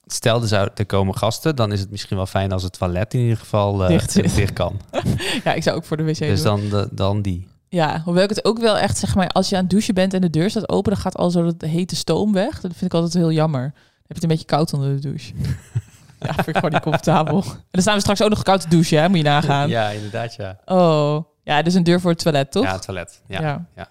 stel er, zou, er komen gasten, dan is het misschien wel fijn als het toilet in ieder geval eh,
Dicht is.
dicht kan.
Ja, ik zou ook voor de wc
Dus dan,
doen.
de- dan die.
Ja, hoewel ik het ook wel echt, zeg maar, als je aan het douchen bent en de deur staat open, dan gaat al zo dat hete stoom weg. Dat vind ik altijd heel jammer. Dan heb je het een beetje koud onder de douche. ja, vind ik gewoon niet comfortabel. En dan staan we straks ook nog koud te douchen, hè? Moet je nagaan.
Ja, inderdaad, ja.
Oh, ja, dus een deur voor het toilet, toch?
Ja, het toilet. Ja. ja.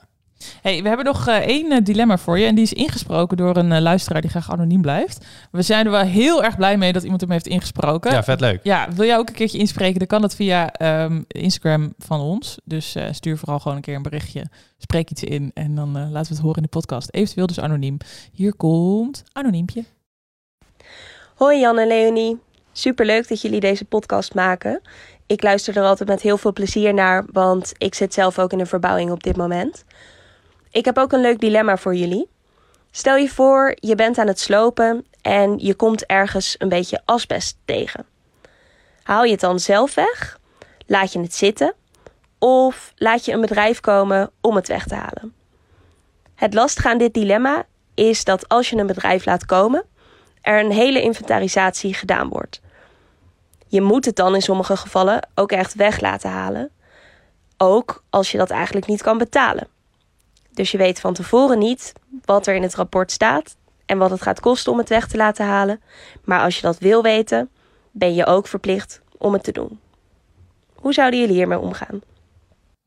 Hey, we hebben nog eh, één eh, dilemma voor je. En die is ingesproken door een eh, luisteraar die graag anoniem blijft. We zijn er wel heel erg blij mee dat iemand hem heeft ingesproken.
ja, vet leuk.
Ja, wil jij ook een keertje inspreken? Dan kan dat via ehm, Instagram van ons. Dus eh, stuur vooral gewoon een keer een berichtje. Spreek iets in en dan eh, laten we het horen in de podcast. Eventueel dus anoniem. Hier komt anoniempje.
Hoi Jan en Leonie. Superleuk dat jullie deze podcast maken. Ik luister er altijd met heel veel plezier naar, want ik zit zelf ook in een verbouwing op dit moment. Ik heb ook een leuk dilemma voor jullie. Stel je voor, je bent aan het slopen en je komt ergens een beetje asbest tegen. Haal je het dan zelf weg? Laat je het zitten? Of laat je een bedrijf komen om het weg te halen? Het lastige aan dit dilemma is dat als je een bedrijf laat komen, er een hele inventarisatie gedaan wordt. Je moet het dan in sommige gevallen ook echt weg laten halen, ook als je dat eigenlijk niet kan betalen. Dus je weet van tevoren niet wat er in het rapport staat en wat het gaat kosten om het weg te laten halen, maar als je dat wil weten, ben je ook verplicht om het te doen. Hoe zouden jullie hiermee omgaan?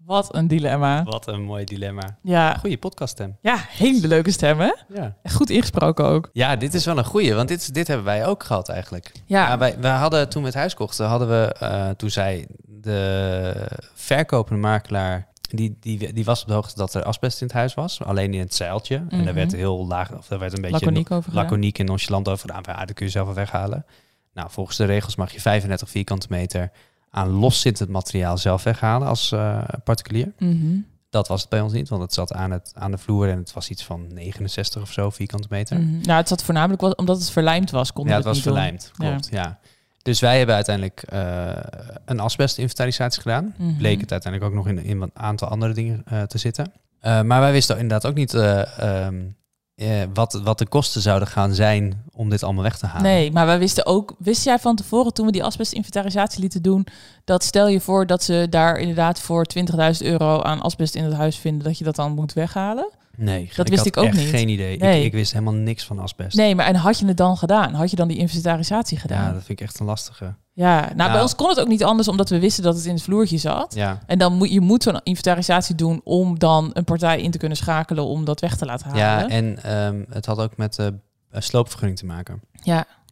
Wat een dilemma.
Wat een mooi dilemma.
Ja,
Goeie podcast, Tim.
ja hele leuke stem hè?
Ja.
Echt Goed ingesproken ook.
Ja, dit is wel een goeie, want dit, is- dit hebben wij ook gehad eigenlijk.
Ja.
Ja, wij, we hadden toen we het huis kochten, hadden we, eh, toen zei de verkopende makelaar, die, die, die was op de hoogte dat er asbest in het huis was, alleen in het zeiltje. En daar
Mhm.
werd heel laag, of daar werd een beetje
Laconiek over gedaan.
laconiek en nonchalant over gedaan. Van, ja, dat kun je zelf wel weghalen. Nou, volgens de regels mag je 35 vierkante meter aan loszittend materiaal zelf weghalen als eh, particulier.
Mhm.
Dat was het bij ons niet, want het zat aan, het, aan de vloer en het was iets van 69 of zo vierkante meter.
Mhm. Nou, het zat voornamelijk wel- omdat het verlijmd was. Kon
Ja, het was verlijmd,
Ja.
klopt. Ja. Dus wij hebben uiteindelijk eh, een asbestinventarisatie
Mhm.
gedaan. Bleek het uiteindelijk ook nog in, in een aantal andere dingen eh, te zitten. Eh, maar wij wisten inderdaad ook niet eh, ehm, eh, wat, wat de kosten zouden gaan zijn om dit allemaal weg te halen.
Nee, maar wij wisten ook, wist jij van tevoren toen we die asbestinventarisatie lieten doen, dat stel je voor dat ze daar inderdaad voor 20.000 euro aan asbest in het huis vinden, dat je dat dan moet weghalen?
nee
Dat wist
had
ik ook
echt
niet.
geen idee.
Nee.
Ik, ik wist helemaal niks van asbest.
Nee, maar en had je het dan gedaan? Had je dan die inventarisatie gedaan?
Dus- Ja,
Ja,
dat vind ik echt een lastige.
nou,
Nou.
bij ons kon het ook niet anders, omdat we wisten dat het in het vloertje zat.
Ja.
En dan moet je moet zo'n inventarisatie doen om dan een partij in te kunnen schakelen om dat weg te laten
Ja,
halen. Ja,
en ehm, het had ook met de sloopvergunning te maken.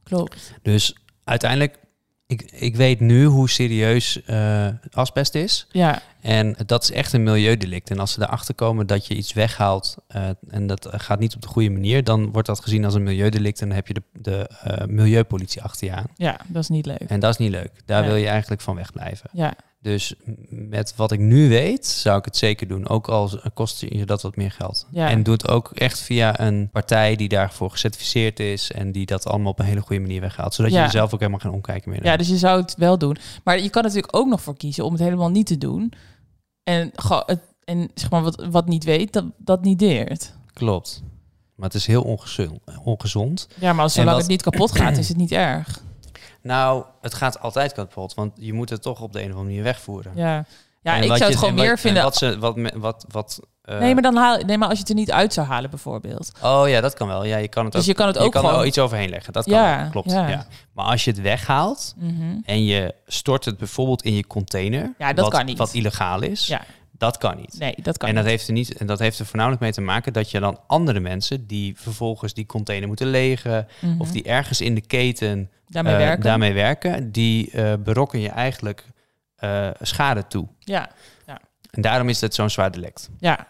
klopt.
Dus uiteindelijk, ik, ik weet nu hoe serieus eh, asbest is.
Ja,
En dat is echt een milieudelict. En als ze erachter komen dat je iets weghaalt eh, en dat gaat niet op de goede manier, dan wordt dat gezien als een milieudelict en dan heb je de, de eh, milieupolitie achter je aan.
ja, dat is niet leuk.
En dat is niet leuk. Daar
Ja.
wil je eigenlijk van wegblijven.
Ja,
Dus m- met wat ik nu weet, zou ik het zeker doen. Ook al kost je dat wat meer geld.
Ja.
En doe het ook echt via een partij die daarvoor gecertificeerd is en die dat allemaal op een hele goede manier weghaalt. Zodat
Ja.
je jezelf ook helemaal geen omkijken meer
Ja, dus je zou het wel doen. Maar je kan natuurlijk ook nog voor kiezen om het helemaal niet te doen. En, gewoon het, en zeg maar, wat, wat niet weet, dat, dat niet deert.
Klopt. Maar het is heel ongezond. ongezond.
Ja, maar als,
En
zolang
wat-
het niet kapot gaat, is het niet erg.
Nou, het gaat altijd kapot, want je moet het toch op de een of andere manier wegvoeren.
Ja. Ja,
En
ik
wat
zou het
je-
gewoon
en
meer
wat- en
vinden.
Wat ze, wat, me- wat, wat, eh,
nee, maar dan haal, nee, maar als je het er niet uit zou halen, bijvoorbeeld.
Oh ja, dat kan wel. Ja, je kan het
Dus
ook,
je kan het ook
kan er
gewoon.
wel iets overheen leggen. Dat kan
Ja,
wel, klopt.
ja.
Ja. Maar als je het weghaalt
Mhm.
en je stort het bijvoorbeeld in je container,
Ja, dat
wat,
kan niet.
wat illegaal is,
Ja.
dat kan niet.
Nee, dat kan
en dat
niet.
heeft, er niet, en dat heeft er voornamelijk mee te maken dat je dan andere mensen die vervolgens die container moeten legen
Mhm.
of die ergens in de keten
Daarmee
eh,
werken.
daarmee werken, die eh, berokken je eigenlijk eh, schade toe.
Ja,
En daarom is dat zo'n zwaar delict.
ja.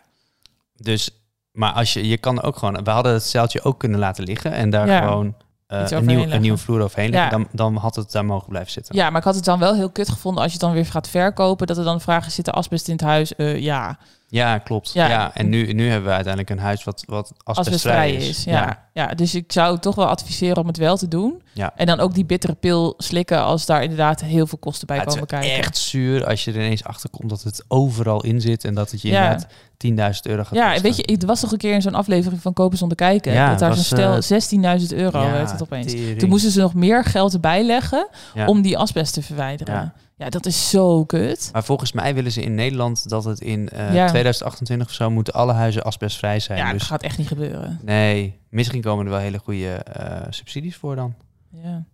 Dus, maar als je, je kan ook gewoon, we hadden het zeiltje ook kunnen laten liggen en daar
Ja.
gewoon eh,
Iets
een,
overheen
nieuw,
leggen.
een nieuwe vloer overheen leggen,
Ja.
dan, dan had het daar mogen blijven zitten.
ja, maar ik had het dan wel heel kut gevonden als je het dan weer gaat verkopen. Dat er dan vragen zitten asbest in het huis. Eh, ja,
Ja, klopt.
Ja.
Ja. en nu, nu hebben we uiteindelijk een huis wat, wat
asbestvrij
asbestvrij
is.
is.
ja. Ja. dus ik zou toch wel adviseren om het wel te doen.
Ja.
En dan ook die bittere pil slikken als daar inderdaad heel veel kosten bij
Ja, het
komen
is
kijken.
echt zuur als je er ineens achter komt dat het overal in zit en dat het je
Ja.
inderdaad 10.000 euro gaat
Ja, en
kosten.
weet je, het was toch een keer in zo'n aflevering van Kopen zonder kijken.
Ja,
dat daar
was, eh,
zo'n stel 16.000 euro
Ja,
werd het opeens.
tering.
Toen moesten ze nog meer geld erbij leggen
Ja.
om die asbest te verwijderen. Ja,
Ja.
dat is zo kut.
Maar volgens mij willen ze in Nederland dat het in eh,
Ja.
2028 of zo moeten alle huizen asbestvrij zijn.
ja, dat
dus
gaat echt niet gebeuren.
nee, misschien komen er wel hele goede eh, subsidies voor dan.
Ja.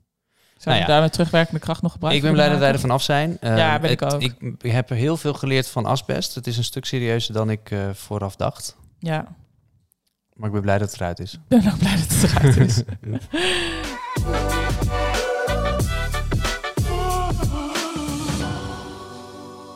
Zou
Nou
je
ja.
daar met terugwerkende kracht nog gebruik
Ik ben
van
blij dat wij er
maken?
vanaf zijn. Eh,
Ja, ben ik
het-
ook.
Ik heb er heel veel geleerd van asbest. Het is een stuk serieuzer dan ik eh, vooraf dacht.
Ja,
Maar ik ben blij dat het eruit is.
ik ben ook blij dat het eruit is.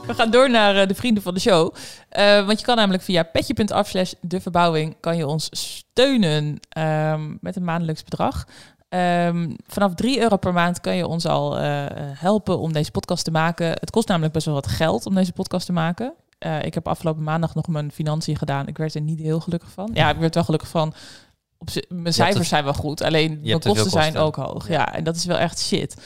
We gaan door naar eh, de vrienden van de show. Eh, want je kan namelijk via petje.af slash de verbouwing kan je ons steunen ehm, met een maandelijks bedrag. Ehm, vanaf 3 euro per maand kan je ons al eh, helpen om deze podcast te maken. Het kost namelijk best wel wat geld om deze podcast te maken. Eh, ik heb afgelopen maandag nog mijn financiën gedaan. Ik werd er niet heel gelukkig van. Ja, ik werd wel gelukkig van. Op zi- mijn cijfers
het-
zijn wel goed. Alleen
hebt
mijn
te veel
kosten zijn
kosten.
ook hoog. Ja. en dat is wel echt shit.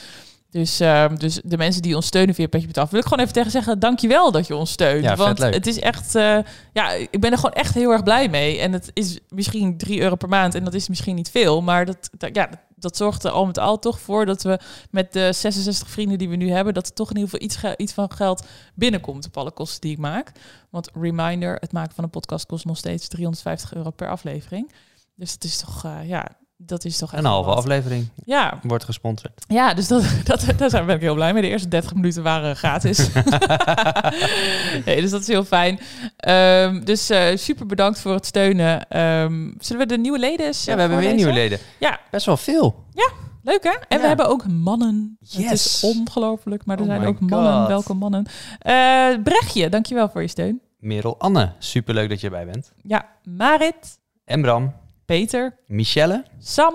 Dus, ehm, dus de mensen die ons steunen via Petje Betaf, wil ik gewoon even tegen zeggen, dankjewel dat je ons steunt.
Ja, vet
want
leuk.
het is echt, eh, ja, ik ben er gewoon echt heel erg blij mee. En het is misschien 3 euro per maand en dat is misschien niet veel, maar dat, dat- ja, dat, dat zorgt er al met al toch voor dat we met de 66 vrienden die we nu hebben, dat er toch in ieder geval iets, ge- iets van geld binnenkomt op alle kosten die ik maak. Want reminder, het maken van een podcast kost nog steeds 350 euro per aflevering. Dus dat is toch, eh, ja, dat is toch echt
Een halve
wat.
aflevering
Ja,
wordt gesponsord.
ja, dus dat, dat, daar zijn- ben ik heel blij mee. De eerste 30 minuten waren gratis. nee, dus dat is heel fijn. Ehm, dus eh, super bedankt voor het steunen. Ehm, zullen we de nieuwe leden eens
Ja,
eh,
we hebben weer
voorlezen?
nieuwe leden.
Ja.
Best wel veel.
Leuk hè? En we
Ja.
hebben ook mannen. Het is
Yes.
ongelooflijk, maar er
Oh
zijn
my
ook mannen.
God.
Welke mannen? Eh Brechtje, dankjewel voor je steun.
Merel Anne, superleuk dat je erbij bent.
Ja, Marit,
En Bram,
Peter,
Michelle.
Sam.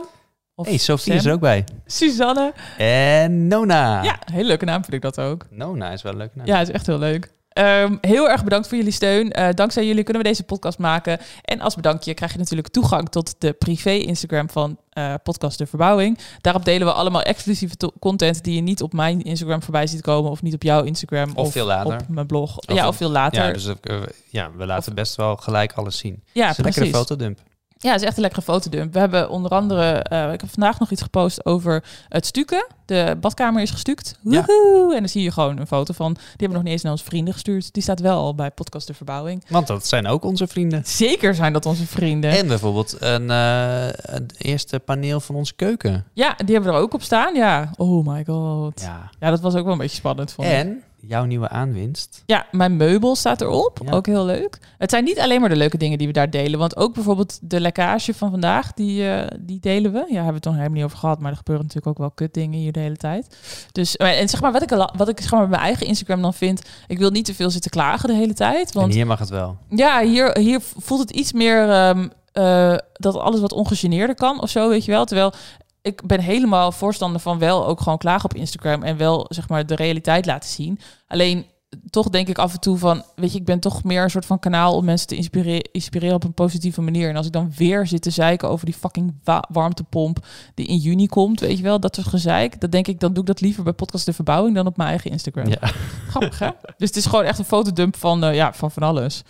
Of
hey, Sophie
Sam.
is er ook bij.
Suzanne.
En Nona.
Ja, hele leuke naam vind ik dat ook.
Nona is wel een leuke naam.
Ja, het is echt heel leuk. Ehm, heel erg bedankt voor jullie steun. Eh, dankzij jullie kunnen we deze podcast maken. En als bedankje krijg je natuurlijk toegang tot de privé Instagram van eh, Podcast De Verbouwing. Daarop delen we allemaal exclusieve to- content die je niet op mijn Instagram voorbij ziet komen. Of niet op jouw Instagram.
Of veel later.
Op mijn blog. ja,
op-
of veel later.
Ja, dus eh, ja, we laten best wel gelijk alles zien.
Ja,
het is een lekkere
precies.
fotodump.
Ja, het is echt een lekkere fotodump. We hebben onder andere, eh, ik heb vandaag nog iets gepost over het stukken. De badkamer is gestuukt.
Ja.
Woehoe! En dan zie je gewoon een foto van. Die hebben we nog niet eens naar onze vrienden gestuurd. Die staat wel al bij Podcast De Verbouwing.
Want dat zijn ook onze vrienden.
Zeker zijn dat onze vrienden.
En bijvoorbeeld een, eh, het eerste paneel van onze keuken.
Ja, die hebben er ook op staan. Ja. Oh my god. Ja,
Ja.
dat was ook wel een beetje spannend. Vond ik.
En jouw nieuwe aanwinst.
Ja, mijn meubel staat erop.
Ja.
Ook heel leuk. Het zijn niet alleen maar de leuke dingen die we daar delen. Want ook bijvoorbeeld de lekkage van vandaag, die, eh, die delen we. Ja, hebben we het nog helemaal niet over gehad. Maar er gebeuren natuurlijk ook wel kutdingen hier de hele tijd. Dus, maar- en zeg maar, wat ik, al- wat ik zeg maar, bij mijn eigen Instagram dan vind... Ik wil niet te veel zitten klagen de hele tijd. Want
En hier mag het wel.
Ja, hier, hier voelt het iets meer ehm, eh, dat alles wat ongegeneerder kan of zo, weet je wel. Terwijl ik ben helemaal voorstander van wel ook gewoon klagen op Instagram en wel zeg maar de realiteit laten zien. Alleen toch denk ik af en toe van, weet je, ik ben toch meer een soort van kanaal om mensen te inspire- inspireren op een positieve manier. En als ik dan weer zit te zeiken over die fucking wa- warmtepomp die in juni komt, weet je wel, dat soort gezeik, dat denk ik, dan doe ik dat liever bij podcast De Verbouwing dan op mijn eigen Instagram.
Ja.
Grappig, hè? Dus het is gewoon echt een fotodump van, eh, ja, van van alles.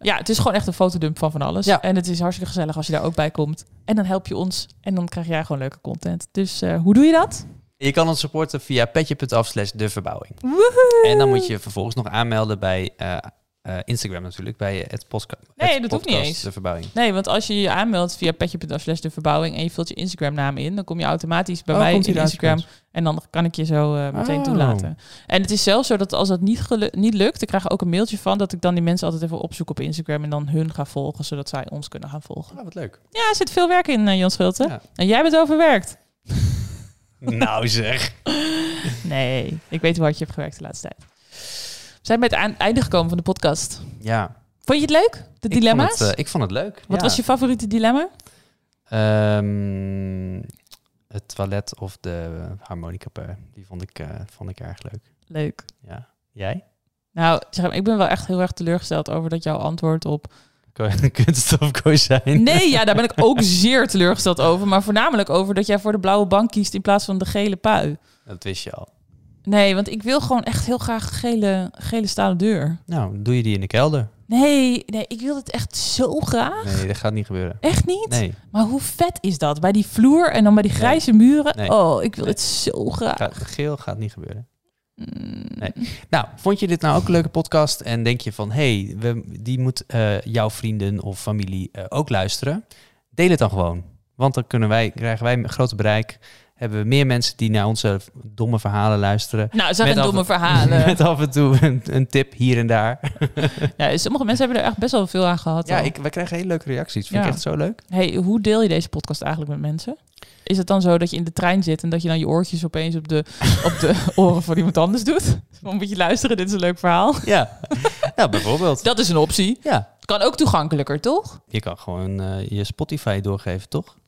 Ja, het is gewoon echt een fotodump van van alles.
Ja.
En het is hartstikke gezellig als je daar ook bij komt. En dan help je ons en dan krijg jij gewoon leuke content. Dus eh, hoe doe je dat?
Je kan ons supporten via petje.af slash de verbouwing.
Woehoe!
En dan moet je vervolgens nog aanmelden bij eh, eh, Instagram natuurlijk, bij eh, het postka-
Nee,
het
dat hoeft
podcast
niet eens.
de verbouwing.
Nee, want als je je aanmeldt via petje.af slash de verbouwing en je vult je Instagram naam in, dan kom je automatisch bij
Oh,
mij
komt hij
in
daar
Instagram.
uit?
En dan kan ik je zo eh, meteen
Oh.
toelaten. En het is zelfs zo dat als dat niet, gelu- niet lukt, ik krijg ik ook een mailtje van dat ik dan die mensen altijd even opzoek op Instagram en dan hun ga volgen, zodat zij ons kunnen gaan volgen.
Oh, wat leuk.
Ja, er zit veel werk in, eh, Jan Schulte.
Ja.
En jij bent overwerkt.
nou zeg.
Nee, ik weet hoe hard je hebt gewerkt de laatste tijd. We zijn bij het aan- einde gekomen van de podcast.
Ja.
Vond je het leuk? De dilemma's?
Ik vond het, eh, ik vond het leuk.
Wat
ja.
was je favoriete dilemma?
Ehm, het toilet of de harmonica per. Die vond ik, eh, vond ik erg leuk.
Leuk.
Ja. Jij?
Nou, zeg maar, ik ben wel echt heel erg teleurgesteld over dat jouw antwoord op...
Ko- Kunst of kozijn?
Nee, ja, daar ben ik ook zeer teleurgesteld over. Maar voornamelijk over dat jij voor de blauwe bank kiest in plaats van de gele pui.
Dat wist je al.
Nee, want ik wil gewoon echt heel graag gele, gele stalen deur.
Nou, doe je die in de kelder?
Nee, nee, ik wil het echt zo graag.
Nee, dat gaat niet gebeuren.
Echt niet?
Nee,
Maar hoe vet is dat? Bij die vloer en dan bij die grijze muren.
Nee.
Oh, ik wil
Nee.
het zo graag.
gaat, geel gaat niet gebeuren.
Mm.
Nee. Nou, vond je dit nou ook een leuke podcast? En denk je van, hé, hey, we- die moet eh, jouw vrienden of familie eh, ook luisteren? Deel het dan gewoon. Want dan kunnen wij, krijgen wij een groter bereik. Hebben we meer mensen die naar onze domme verhalen luisteren.
Nou, het zijn
Met
geen
af-
domme verhalen.
Met af en toe een, een tip hier en daar.
ja, sommige mensen hebben er echt best wel veel aan gehad.
Ja,
al.
ik, wij krijgen hele leuke reacties. Vind
Ja.
ik echt zo leuk.
Hey, hoe deel je deze podcast eigenlijk met mensen? Is het dan zo dat je in de trein zit en dat je dan je oortjes opeens op de, op de oren van iemand anders doet? Dan moet je luisteren, dit is een leuk verhaal.
Ja, ja bijvoorbeeld.
Dat is een optie.
Ja,
Kan ook toegankelijker, toch?
je kan gewoon eh, je Spotify doorgeven, toch?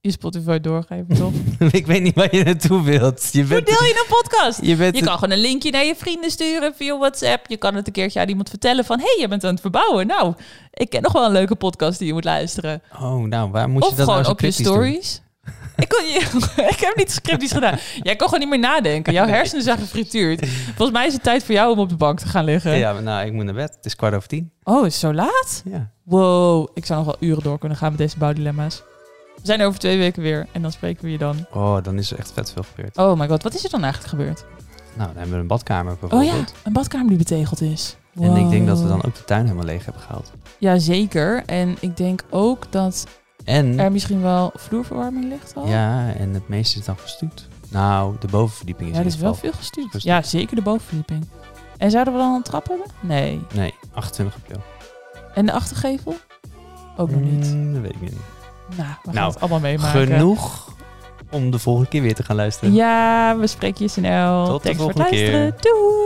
Je Spotify doorgeven, toch?
ik weet niet waar je naartoe wilt. Je
Hoe
bent,
deel je een podcast?
je bent
Je kan gewoon een linkje naar je vrienden sturen via WhatsApp. Je kan het een keertje aan iemand vertellen van... hé, hey, je bent aan het verbouwen. Nou, ik ken nog wel een leuke podcast die je moet luisteren.
Oh, nou, waar moet
of
je dat nou
gewoon
zo
op je
kritisch doen?
stories. Ik, kon, je, ik heb niet scriptisch gedaan. Jij kon gewoon niet meer nadenken. Jouw hersenen zijn gefrituurd. Volgens mij is het tijd voor jou om op de bank te gaan liggen.
Ja, maar nou, ik moet naar bed. Het is kwart over tien.
Oh, is het zo laat?
Ja.
Wow, ik zou nog wel uren door kunnen gaan met deze bouwdilemma's. We zijn er over twee weken weer en dan spreken we je dan.
Oh, dan is er echt vet veel gebeurd.
Oh my god, wat is er dan eigenlijk gebeurd?
Nou, dan hebben we een badkamer
Oh ja,
bijvoorbeeld.
een badkamer die betegeld is.
En ik denk dat we
Wow.
dan ook de tuin helemaal leeg hebben gehaald.
Jazeker. En ik denk ook dat er
En,
misschien wel vloerverwarming ligt al.
ja, en het meeste is dan gestuurd. Nou, de bovenverdieping is
Ja,
in
dat is
ieder
wel
geval.
veel gestuurd.
Gestuurd.
Ja, zeker de bovenverdieping. En zouden we dan een trap hebben? Nee.
Nee, 28 april.
En de achtergevel? Ook nog niet.
Mm, dat weet ik niet.
Nou, we gaan
Nou,
het allemaal meemaken.
Genoeg om de volgende keer weer te gaan luisteren.
eh, Ja, we spreken je snel.
Tot de
Thanks voor het
volgende keer.
luisteren. Doei!